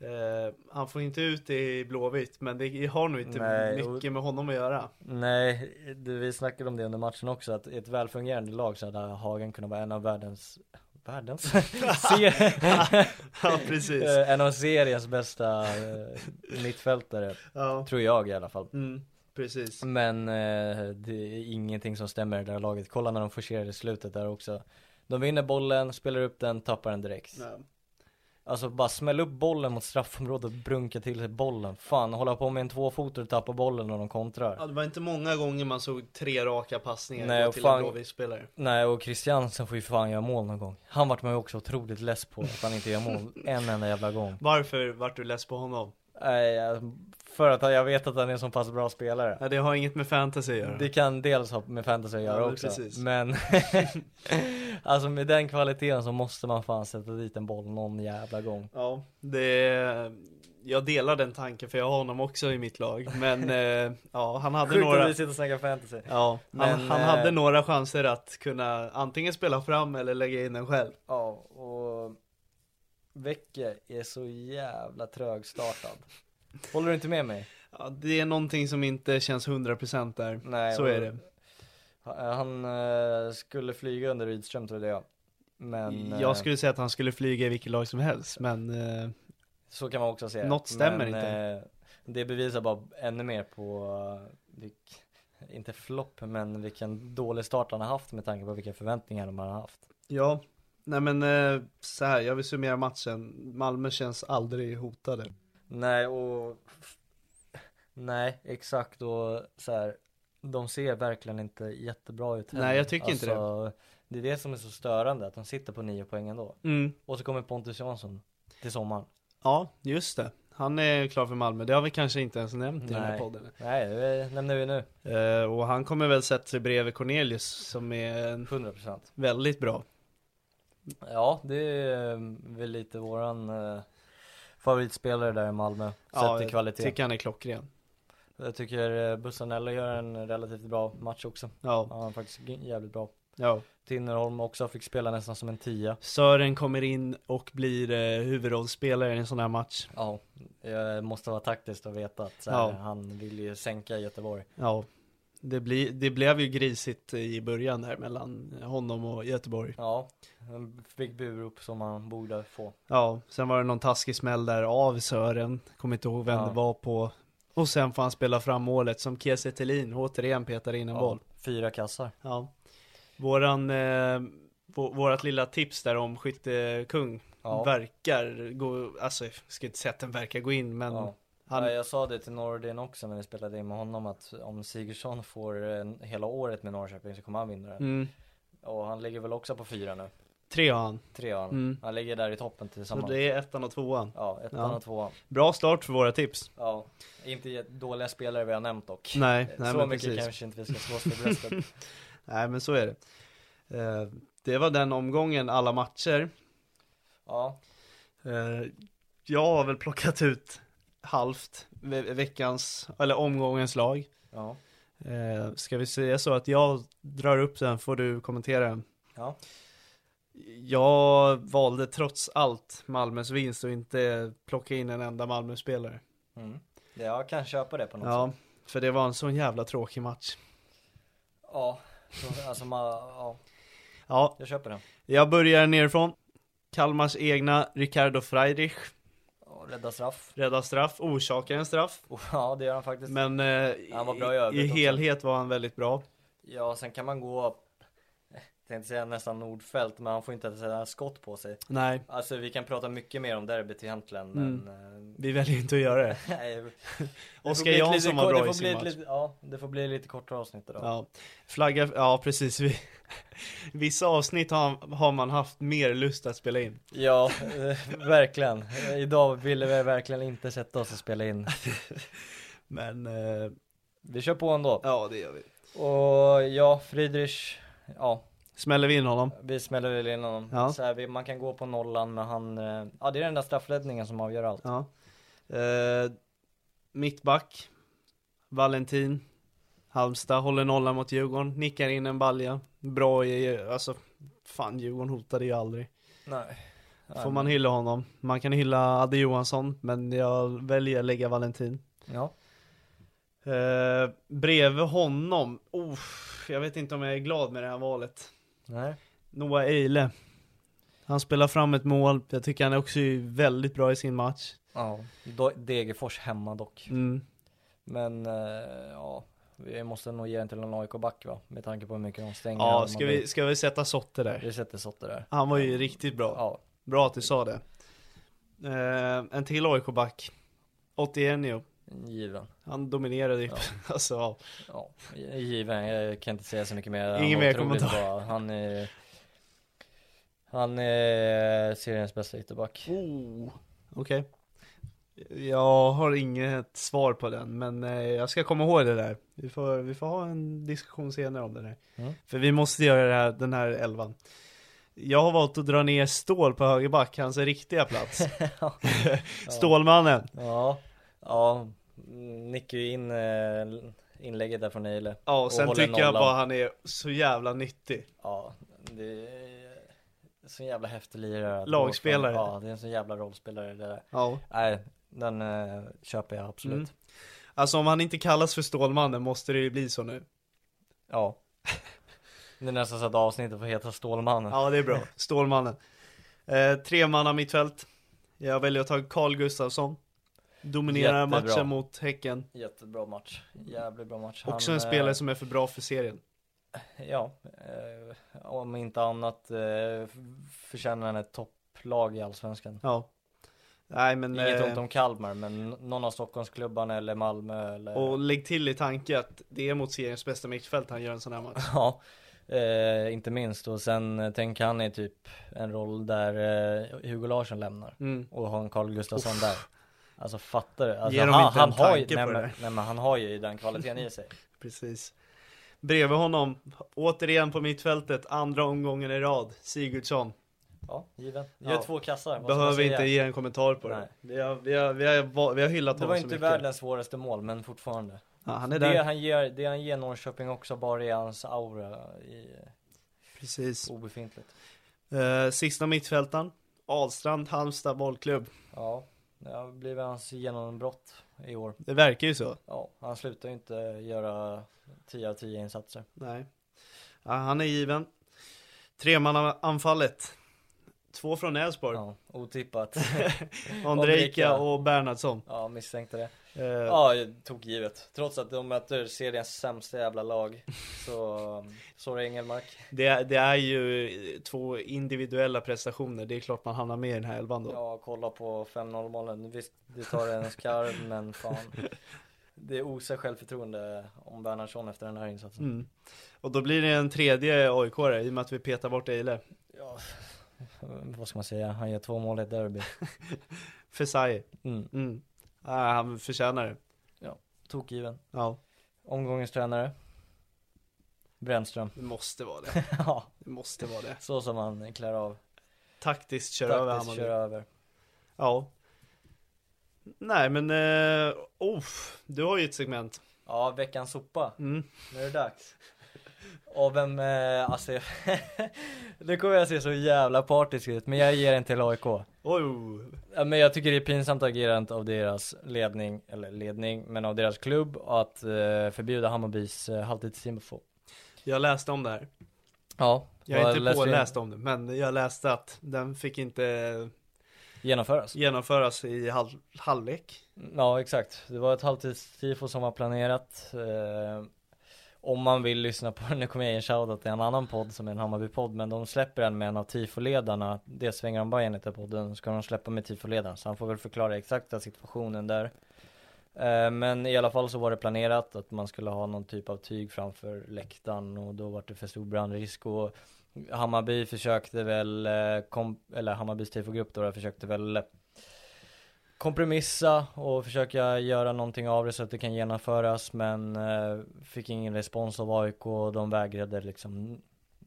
Speaker 1: Eh, han får inte ut det i Blåvitt, men det har nog inte
Speaker 2: Nej, och-
Speaker 1: mycket med honom att göra.
Speaker 2: nej, du, vi snackade om det under matchen också, att i ett välfungerande lag så hade Hagen kunnat vara en av världens, världens? Se-
Speaker 1: ja, precis.
Speaker 2: eh, en av seriens bästa eh, mittfältare,
Speaker 1: Ja,
Speaker 2: tror jag i alla fall.
Speaker 1: mm, precis.
Speaker 2: Men eh, det är ingenting som stämmer i det där laget. Kolla när de forcerar i slutet där också. De vinner bollen, spelar upp den, tappar den direkt.
Speaker 1: Ja.
Speaker 2: Alltså bara smäll upp bollen mot straffområdet, brunka till sig bollen. Fan, hålla på med en tvåfotare och tappa bollen när de kontrar.
Speaker 1: Ja, det var inte många gånger man såg tre raka passningar
Speaker 2: Nej,
Speaker 1: gå
Speaker 2: och
Speaker 1: till
Speaker 2: fan-
Speaker 1: en Blåvitt-spelare.
Speaker 2: Nej, och Christiansen får ju fan göra mål någon gång. Han vart man ju också otroligt less på att han inte gör mål en enda jävla gång.
Speaker 1: Varför vart du less på honom?
Speaker 2: Nej, jag- för att jag vet att han är en så pass bra spelare.
Speaker 1: Ja, det har inget med fantasy att göra.
Speaker 2: Det kan dels ha med fantasy att göra
Speaker 1: men
Speaker 2: också,
Speaker 1: precis.
Speaker 2: men alltså med den kvaliteten så måste man fan sätta dit en boll någon jävla gång.
Speaker 1: Ja, det... Jag delar den tanken för jag har honom också i mitt lag. Men eh, ja, han hade
Speaker 2: Sjukt
Speaker 1: några...
Speaker 2: att vi sitter och snackar fantasy.
Speaker 1: Ja, han,
Speaker 2: Men,
Speaker 1: han
Speaker 2: eh,
Speaker 1: hade några chanser att kunna antingen spela fram eller lägga in den själv.
Speaker 2: Ja, och Vecke är så jävla trögstartad. Håller du inte med mig?
Speaker 1: Ja, det är någonting som inte känns 100% där.
Speaker 2: Nej,
Speaker 1: Så
Speaker 2: och-
Speaker 1: är det.
Speaker 2: Han eh, skulle flyga under Rydström trodde jag. Men eh,
Speaker 1: Jag skulle säga att han skulle flyga i vilket lag som helst, men eh,
Speaker 2: så kan man också säga.
Speaker 1: Något stämmer
Speaker 2: men,
Speaker 1: inte.
Speaker 2: eh, det bevisar bara ännu mer på, eh, vilk, inte flopp, men vilken dålig start han har haft med tanke på vilka förväntningar de har haft.
Speaker 1: ja. Nej men eh, så här, jag vill summera matchen. Malmö känns aldrig hotade.
Speaker 2: Nej, och nej, exakt och så här. De ser verkligen inte jättebra ut
Speaker 1: Nej, jag tycker inte det.
Speaker 2: inte det. Det är det som är så störande, att de sitter på nio poäng ändå.
Speaker 1: Mm.
Speaker 2: Och så kommer Pontus Jansson till sommaren.
Speaker 1: Ja, just det. Han är klar för Malmö, det har vi kanske inte ens nämnt i den här
Speaker 2: Nej.
Speaker 1: podden.
Speaker 2: Nej, det nämner vi nu.
Speaker 1: Eh, och han kommer väl sätta sig bredvid Cornelius som är en
Speaker 2: 100%.
Speaker 1: väldigt bra.
Speaker 2: Ja, det är eh, väl lite våran eh, favoritspelare där i Malmö, sett till kvalitet.
Speaker 1: Jag tycker han är klockren.
Speaker 2: Jag tycker eh, Bussanello gör en relativt bra match också.
Speaker 1: Ja,
Speaker 2: Ja, han är faktiskt g- jävligt bra.
Speaker 1: ja.
Speaker 2: Tinnerholm också, fick spela nästan som en tia.
Speaker 1: Sören kommer in och blir eh, huvudrollsspelare i en sån här match.
Speaker 2: Ja, jag måste vara taktiskt och veta att så
Speaker 1: Ja.
Speaker 2: här, han vill ju sänka Göteborg.
Speaker 1: Ja, det, blir- det blev ju grisigt i början där mellan honom och Göteborg.
Speaker 2: Ja, han fick burop som han borde få.
Speaker 1: Ja, sen var det någon taskig smäll där av Sören, kommer inte ihåg vem
Speaker 2: Ja.
Speaker 1: det var på. Och sen får han spela fram målet som Kiese Thelin återigen petar in en boll.
Speaker 2: Ja, fyra kassar.
Speaker 1: Ja. Våran, eh, vå- vårat lilla tips där om skyttekung
Speaker 2: Ja.
Speaker 1: verkar gå, alltså jag ska inte säga att den verkar gå in men
Speaker 2: Ja.
Speaker 1: han,
Speaker 2: Ja, jag sa det till Nordin också när vi spelade in med honom att om Sigurdsson får eh, hela året med Norrköping så kommer han vinna den.
Speaker 1: mm,
Speaker 2: Och han ligger väl också på fyra nu?
Speaker 1: tre har han.
Speaker 2: Tre har han.
Speaker 1: Mm.
Speaker 2: Han ligger där i toppen
Speaker 1: Så
Speaker 2: tillsammans.
Speaker 1: det är ettan och tvåan.
Speaker 2: Ja, ettan
Speaker 1: Ja.
Speaker 2: och tvåan.
Speaker 1: Bra start för våra tips.
Speaker 2: Ja, inte jätte- dåliga spelare vi har nämnt dock. Eh,
Speaker 1: Nej, nej
Speaker 2: så
Speaker 1: men
Speaker 2: mycket
Speaker 1: precis.
Speaker 2: kanske inte vi ska slå oss för bröstet.
Speaker 1: Nej men så är det. Eh, det var den omgången, alla matcher.
Speaker 2: Ja,
Speaker 1: Eh, Jag har väl plockat ut halvt ve veckans, eller omgångens lag.
Speaker 2: Ja.
Speaker 1: Eh, ska vi säga så att jag drar upp den, får du kommentera den.
Speaker 2: Ja.
Speaker 1: Jag valde trots allt Malmös vinst och inte plocka in en enda Malmö-spelare.
Speaker 2: Mm. Jag kan köpa det på något
Speaker 1: Ja,
Speaker 2: sätt.
Speaker 1: för det var en sån jävla tråkig match.
Speaker 2: Ja. Så, alltså man, ja,
Speaker 1: Ja,
Speaker 2: jag köper den.
Speaker 1: jag börjar nerifrån. Kalmars egna Ricardo Freidrich
Speaker 2: Ja, Rädda straff.
Speaker 1: räddar straff, orsakar en straff.
Speaker 2: Oh, Ja, det gör han faktiskt.
Speaker 1: Men eh,
Speaker 2: Han var bra i
Speaker 1: i,
Speaker 2: övrigt
Speaker 1: i
Speaker 2: också.
Speaker 1: helhet var han väldigt bra.
Speaker 2: Ja, sen kan man gå, jag tänkte säga nästan Nordfält, men han får inte ens ett skott på sig.
Speaker 1: Nej,
Speaker 2: Alltså vi kan prata mycket mer om derbyt egentligen, men... eh,
Speaker 1: vi väljer inte att göra det.
Speaker 2: nej. Det får
Speaker 1: Oskar
Speaker 2: bli ett
Speaker 1: Jansson
Speaker 2: lite
Speaker 1: var
Speaker 2: kort-
Speaker 1: bra
Speaker 2: det
Speaker 1: i
Speaker 2: får
Speaker 1: sin
Speaker 2: bli ett
Speaker 1: match.
Speaker 2: lite- Ja, det får bli lite kortare avsnitt idag.
Speaker 1: Ja, flagga, ja precis. Vi, vissa avsnitt har, har man haft mer lust att spela in.
Speaker 2: Ja, eh, verkligen. Eh, Idag ville vi verkligen inte sätta oss och spela in.
Speaker 1: Men eh,
Speaker 2: Vi kör på ändå.
Speaker 1: ja, det gör vi.
Speaker 2: Och ja, Friedrich, ja,
Speaker 1: Smäller vi in honom?
Speaker 2: vi smäller väl in honom.
Speaker 1: Ja.
Speaker 2: Så här, vi, man kan gå på nollan, men han, eh, ja det är den där straffräddningen som avgör allt.
Speaker 1: Ja. Eh, mittback, Valentin, Halmstad håller nollan mot Djurgården, nickar in en balja. Bra i, alltså, fan Djurgården hotade ju aldrig.
Speaker 2: Nej.
Speaker 1: Får man hylla honom. Man kan hylla Adde Johansson, men jag väljer att lägga Valentin.
Speaker 2: Ja.
Speaker 1: Eh, bredvid honom, oh, jag vet inte om jag är glad med det här valet.
Speaker 2: Nej.
Speaker 1: Noah Eile. Han spelar fram ett mål, jag tycker han är också väldigt bra i sin match.
Speaker 2: Ja. Då- Degerfors hemma dock.
Speaker 1: Mm.
Speaker 2: Men eh, ja, vi måste nog ge den till en AIK-back va? Med tanke på hur mycket de stänger.
Speaker 1: Ja,
Speaker 2: hemma.
Speaker 1: ska vi, ska vi sätta Sotte där?
Speaker 2: Vi sätter Sotte där.
Speaker 1: Han var ju riktigt bra.
Speaker 2: Ja.
Speaker 1: Bra att du sa det. Eh, en till AIK-back. Otienio.
Speaker 2: Given.
Speaker 1: Han dominerade ju. alltså, ja.
Speaker 2: Ja, given. Jag kan inte säga så mycket mer.
Speaker 1: Ingen mer
Speaker 2: otroligt
Speaker 1: kommentar.
Speaker 2: bra. Han är... Han är seriens bästa ytterback.
Speaker 1: Oh. Okej. Jag har inget svar på den, men eh, jag ska komma ihåg det där. Vi får, vi får ha en diskussion senare om det där.
Speaker 2: Mm.
Speaker 1: För vi måste göra det här, den här elvan. Jag har valt att dra ner Stål på högerback, hans riktiga plats. Stålmannen.
Speaker 2: Ja, ja. Mm, Nickar ju in eh, inlägget där från Eile.
Speaker 1: Ja,
Speaker 2: Och
Speaker 1: sen
Speaker 2: håller
Speaker 1: tycker jag
Speaker 2: nollan.
Speaker 1: bara han är så jävla nyttig.
Speaker 2: Ja, det är så jävla häftig lirare. att
Speaker 1: Lagspelare.
Speaker 2: gå från. Ja, det är en så jävla rollspelare det där.
Speaker 1: Ja.
Speaker 2: Nej, den eh, köper jag absolut.
Speaker 1: Mm. Alltså om han inte kallas för Stålmannen måste det ju bli så nu.
Speaker 2: Ja. Det är nästan så att avsnittet får heta Stålmannen.
Speaker 1: Ja, det är bra. Stålmannen. Eh, tre man av mittfält. Jag väljer att ta Carl Gustafsson. Dominerar
Speaker 2: Jättebra.
Speaker 1: matchen mot Häcken.
Speaker 2: Jättebra match. Jävligt bra match.
Speaker 1: Också en
Speaker 2: Han,
Speaker 1: spelare
Speaker 2: eh,
Speaker 1: som är för bra för serien.
Speaker 2: Ja, eh, om inte annat eh, f- förtjänar han ett topplag i Allsvenskan.
Speaker 1: Ja. Nej, men...
Speaker 2: Inget
Speaker 1: eh,
Speaker 2: ont om Kalmar, men n- någon av Stockholmsklubbarna eller Malmö eller...
Speaker 1: eh, och lägg till i tanke att det är mot seriens bästa mittfält han gör en sån här match.
Speaker 2: Ja, eh, inte minst. Och sen eh, tänker han i typ en roll där eh, Hugo Larsson lämnar
Speaker 1: Mm.
Speaker 2: och har en Carl Gustafsson där. Alltså fattar du? Alltså,
Speaker 1: Ger dem
Speaker 2: han,
Speaker 1: inte en
Speaker 2: han har ju,
Speaker 1: tanke
Speaker 2: nej,
Speaker 1: på
Speaker 2: men,
Speaker 1: det där.
Speaker 2: nej men han har ju den kvaliteten i sig.
Speaker 1: Precis. Bredvid honom, återigen på mittfältet, andra omgången i rad, Sigurdsson.
Speaker 2: Ja, given. Gör
Speaker 1: Ja.
Speaker 2: två kassar. vad ska man
Speaker 1: Behöver
Speaker 2: säga?
Speaker 1: inte ge en kommentar på det.
Speaker 2: Nej.
Speaker 1: Vi har, vi, har, vi, har, vi har hyllat
Speaker 2: Det var
Speaker 1: honom så
Speaker 2: inte
Speaker 1: mycket.
Speaker 2: världens svåraste mål, men fortfarande.
Speaker 1: Ja, han är där.
Speaker 2: Det han, ger, det han ger Norrköping också bara är hans aura i, eh,
Speaker 1: Precis.
Speaker 2: obefintligt.
Speaker 1: Eh, sista mittfältaren, Ahlstrand, Halmstad bollklubb.
Speaker 2: Ja, det har blivit hans genombrott i år.
Speaker 1: Det verkar ju så.
Speaker 2: Ja, han slutar ju inte göra 10 av 10 insatser.
Speaker 1: Nej. Ja, han är given. Tremannaanfallet. Två från Elfsborg.
Speaker 2: Ja, otippat.
Speaker 1: Ondrejka
Speaker 2: Ondrejka.
Speaker 1: och Bernhardsson.
Speaker 2: Ja, misstänkte det.
Speaker 1: Eh,
Speaker 2: Ja, tog givet. Trots att de möter seriens sämsta jävla lag. Så, sorry Engelmark.
Speaker 1: det, det är ju två individuella prestationer. Det är klart man hamnar med i den här elvan då.
Speaker 2: Ja, kolla på 5-0 målen. Visst, det tar en skarv, men fan. Det osar självförtroende om Bernhardsson efter den här insatsen.
Speaker 1: Mm. Och då blir det en tredje aik i och med att vi petar bort Eile.
Speaker 2: Ja, vad ska man säga? Han gör två mål i ett derby.
Speaker 1: Fesai.
Speaker 2: Mm.
Speaker 1: Mm. Ah, han förtjänar det.
Speaker 2: Tokgiven.
Speaker 1: Ja,
Speaker 2: Omgångens tränare. Brännström.
Speaker 1: det måste vara det.
Speaker 2: Ja,
Speaker 1: Det måste vara det.
Speaker 2: så som han klär av.
Speaker 1: Taktiskt kör över
Speaker 2: Taktiskt
Speaker 1: Hammarby.
Speaker 2: kör över.
Speaker 1: Ja. Nej men, eh, oof, du har ju ett segment.
Speaker 2: Ja, veckans sopa. Nu är det dags. Och vem, eh, alltså, jag- nu kommer jag se så jävla partisk ut, men jag ger den till AIK.
Speaker 1: Oj,
Speaker 2: Ja, Men jag tycker det är pinsamt agerande av deras ledning, eller ledning, men av deras klubb att eh, förbjuda Hammarbys eh, halvtidsinfo.
Speaker 1: jag läste om det här.
Speaker 2: Ja,
Speaker 1: Jag är
Speaker 2: vad
Speaker 1: inte
Speaker 2: läste du?
Speaker 1: påläst om det, men jag läste att den fick inte
Speaker 2: Genomföras.
Speaker 1: genomföras i hal- halvlek.
Speaker 2: Ja, exakt. Det var ett halvtidstifo som var planerat. Eh, om man vill lyssna på den, nu kommer jag ge en shoutout till en annan podd som är en Hammarby-podd, men de släpper den med en av tifoledarna. Det svänger de bara enligt den podden, ska de släppa med tifoledaren, så han får väl förklara exakta situationen där. Eh, men i alla fall så var det planerat att man skulle ha någon typ av tyg framför läktaren och då var det för stor brandrisk och Hammarby försökte väl, eh, kom, eller Hammarbys tifogrupp då, försökte väl eh, kompromissa och försöka göra någonting av det så att det kan genomföras men eh, fick ingen respons av AIK och de vägrade liksom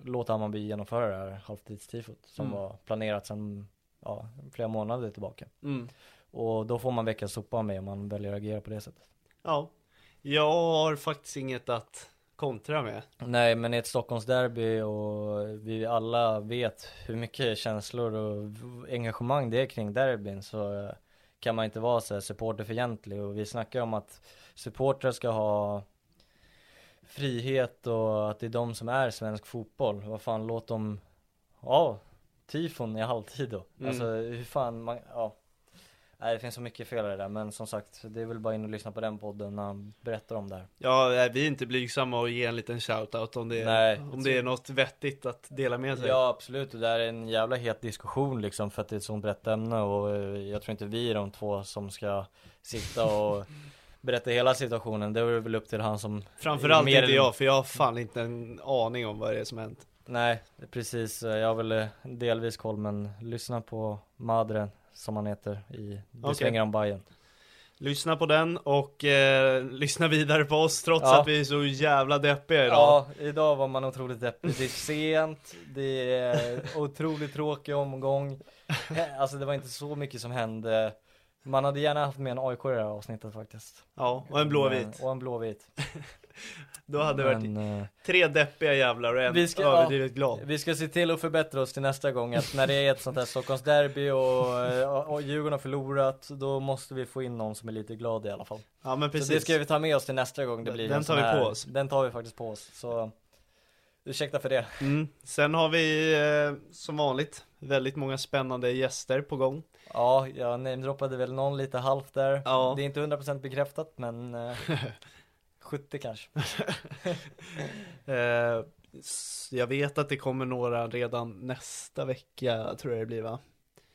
Speaker 2: låta Hammarby genomföra det här halvtidstifot som
Speaker 1: Mm.
Speaker 2: var planerat sedan ja, flera månader tillbaka.
Speaker 1: Mm.
Speaker 2: Och då får man veckans sopa med om man väljer att agera på det sättet.
Speaker 1: Ja, jag har faktiskt inget att kontra med.
Speaker 2: Nej men i ett Stockholmsderby och vi alla vet hur mycket känslor och engagemang det är kring derbyn så eh, kan man inte vara så här supporterfientlig och vi snackar om att supportrar ska ha frihet och att det är de som är svensk fotboll. Vad fan låt dem, ja, tifon i halvtid då. Alltså hur fan man, ja. Nej det finns så mycket fel i det där men som sagt det är väl bara in och lyssna på den podden när han berättar om det här.
Speaker 1: Ja, nej, vi är inte blygsamma och ge en liten shoutout om det,
Speaker 2: Nej.
Speaker 1: om det är något vettigt att dela med sig.
Speaker 2: Ja absolut, och det här är en jävla het diskussion liksom för att det är ett sånt brett ämne och eh, jag tror inte vi är de två som ska sitta och berätta hela situationen. Det är väl upp till han som
Speaker 1: Framförallt
Speaker 2: mer
Speaker 1: inte
Speaker 2: än-
Speaker 1: jag, för jag har fan inte en aning om vad det är som hänt.
Speaker 2: Nej, precis. Eh, Jag har väl eh, delvis koll men lyssna på Madren som han heter i Det
Speaker 1: Okej.
Speaker 2: svänger om Bajen.
Speaker 1: Lyssna på den och eh, lyssna vidare på oss trots
Speaker 2: Ja.
Speaker 1: att vi är så jävla deppiga idag.
Speaker 2: Ja, idag var man otroligt deppig. Det är sent, det är otroligt tråkig omgång. Alltså det var inte så mycket som hände. Man hade gärna haft med en AIK i det här avsnittet faktiskt.
Speaker 1: Ja, och en blåvit.
Speaker 2: Men- Och en blåvit.
Speaker 1: Då hade det varit
Speaker 2: Men, eh,
Speaker 1: tre deppiga jävlar och en
Speaker 2: vi ska-
Speaker 1: överdrivet glad.
Speaker 2: vi ska se till att förbättra oss till nästa gång att när det är ett sånt här Stockholmsderby och, eh, och, och Djurgården har förlorat då måste vi få in någon som är lite glad i alla fall.
Speaker 1: Ja men
Speaker 2: Så det
Speaker 1: precis.
Speaker 2: ska vi ta med oss till nästa gång det
Speaker 1: Den-
Speaker 2: blir en
Speaker 1: den tar
Speaker 2: sån
Speaker 1: vi på
Speaker 2: här,
Speaker 1: oss.
Speaker 2: Den tar vi faktiskt på oss. Så ursäkta för det.
Speaker 1: Mm. Sen har vi eh, som vanligt väldigt många spännande gäster på gång.
Speaker 2: Ja, jag namedroppade väl någon lite halvt där.
Speaker 1: Ja.
Speaker 2: Det är inte 100% bekräftat men eh, 70 kanske.
Speaker 1: Eh, s- jag vet att det kommer några redan nästa vecka tror jag det blir va?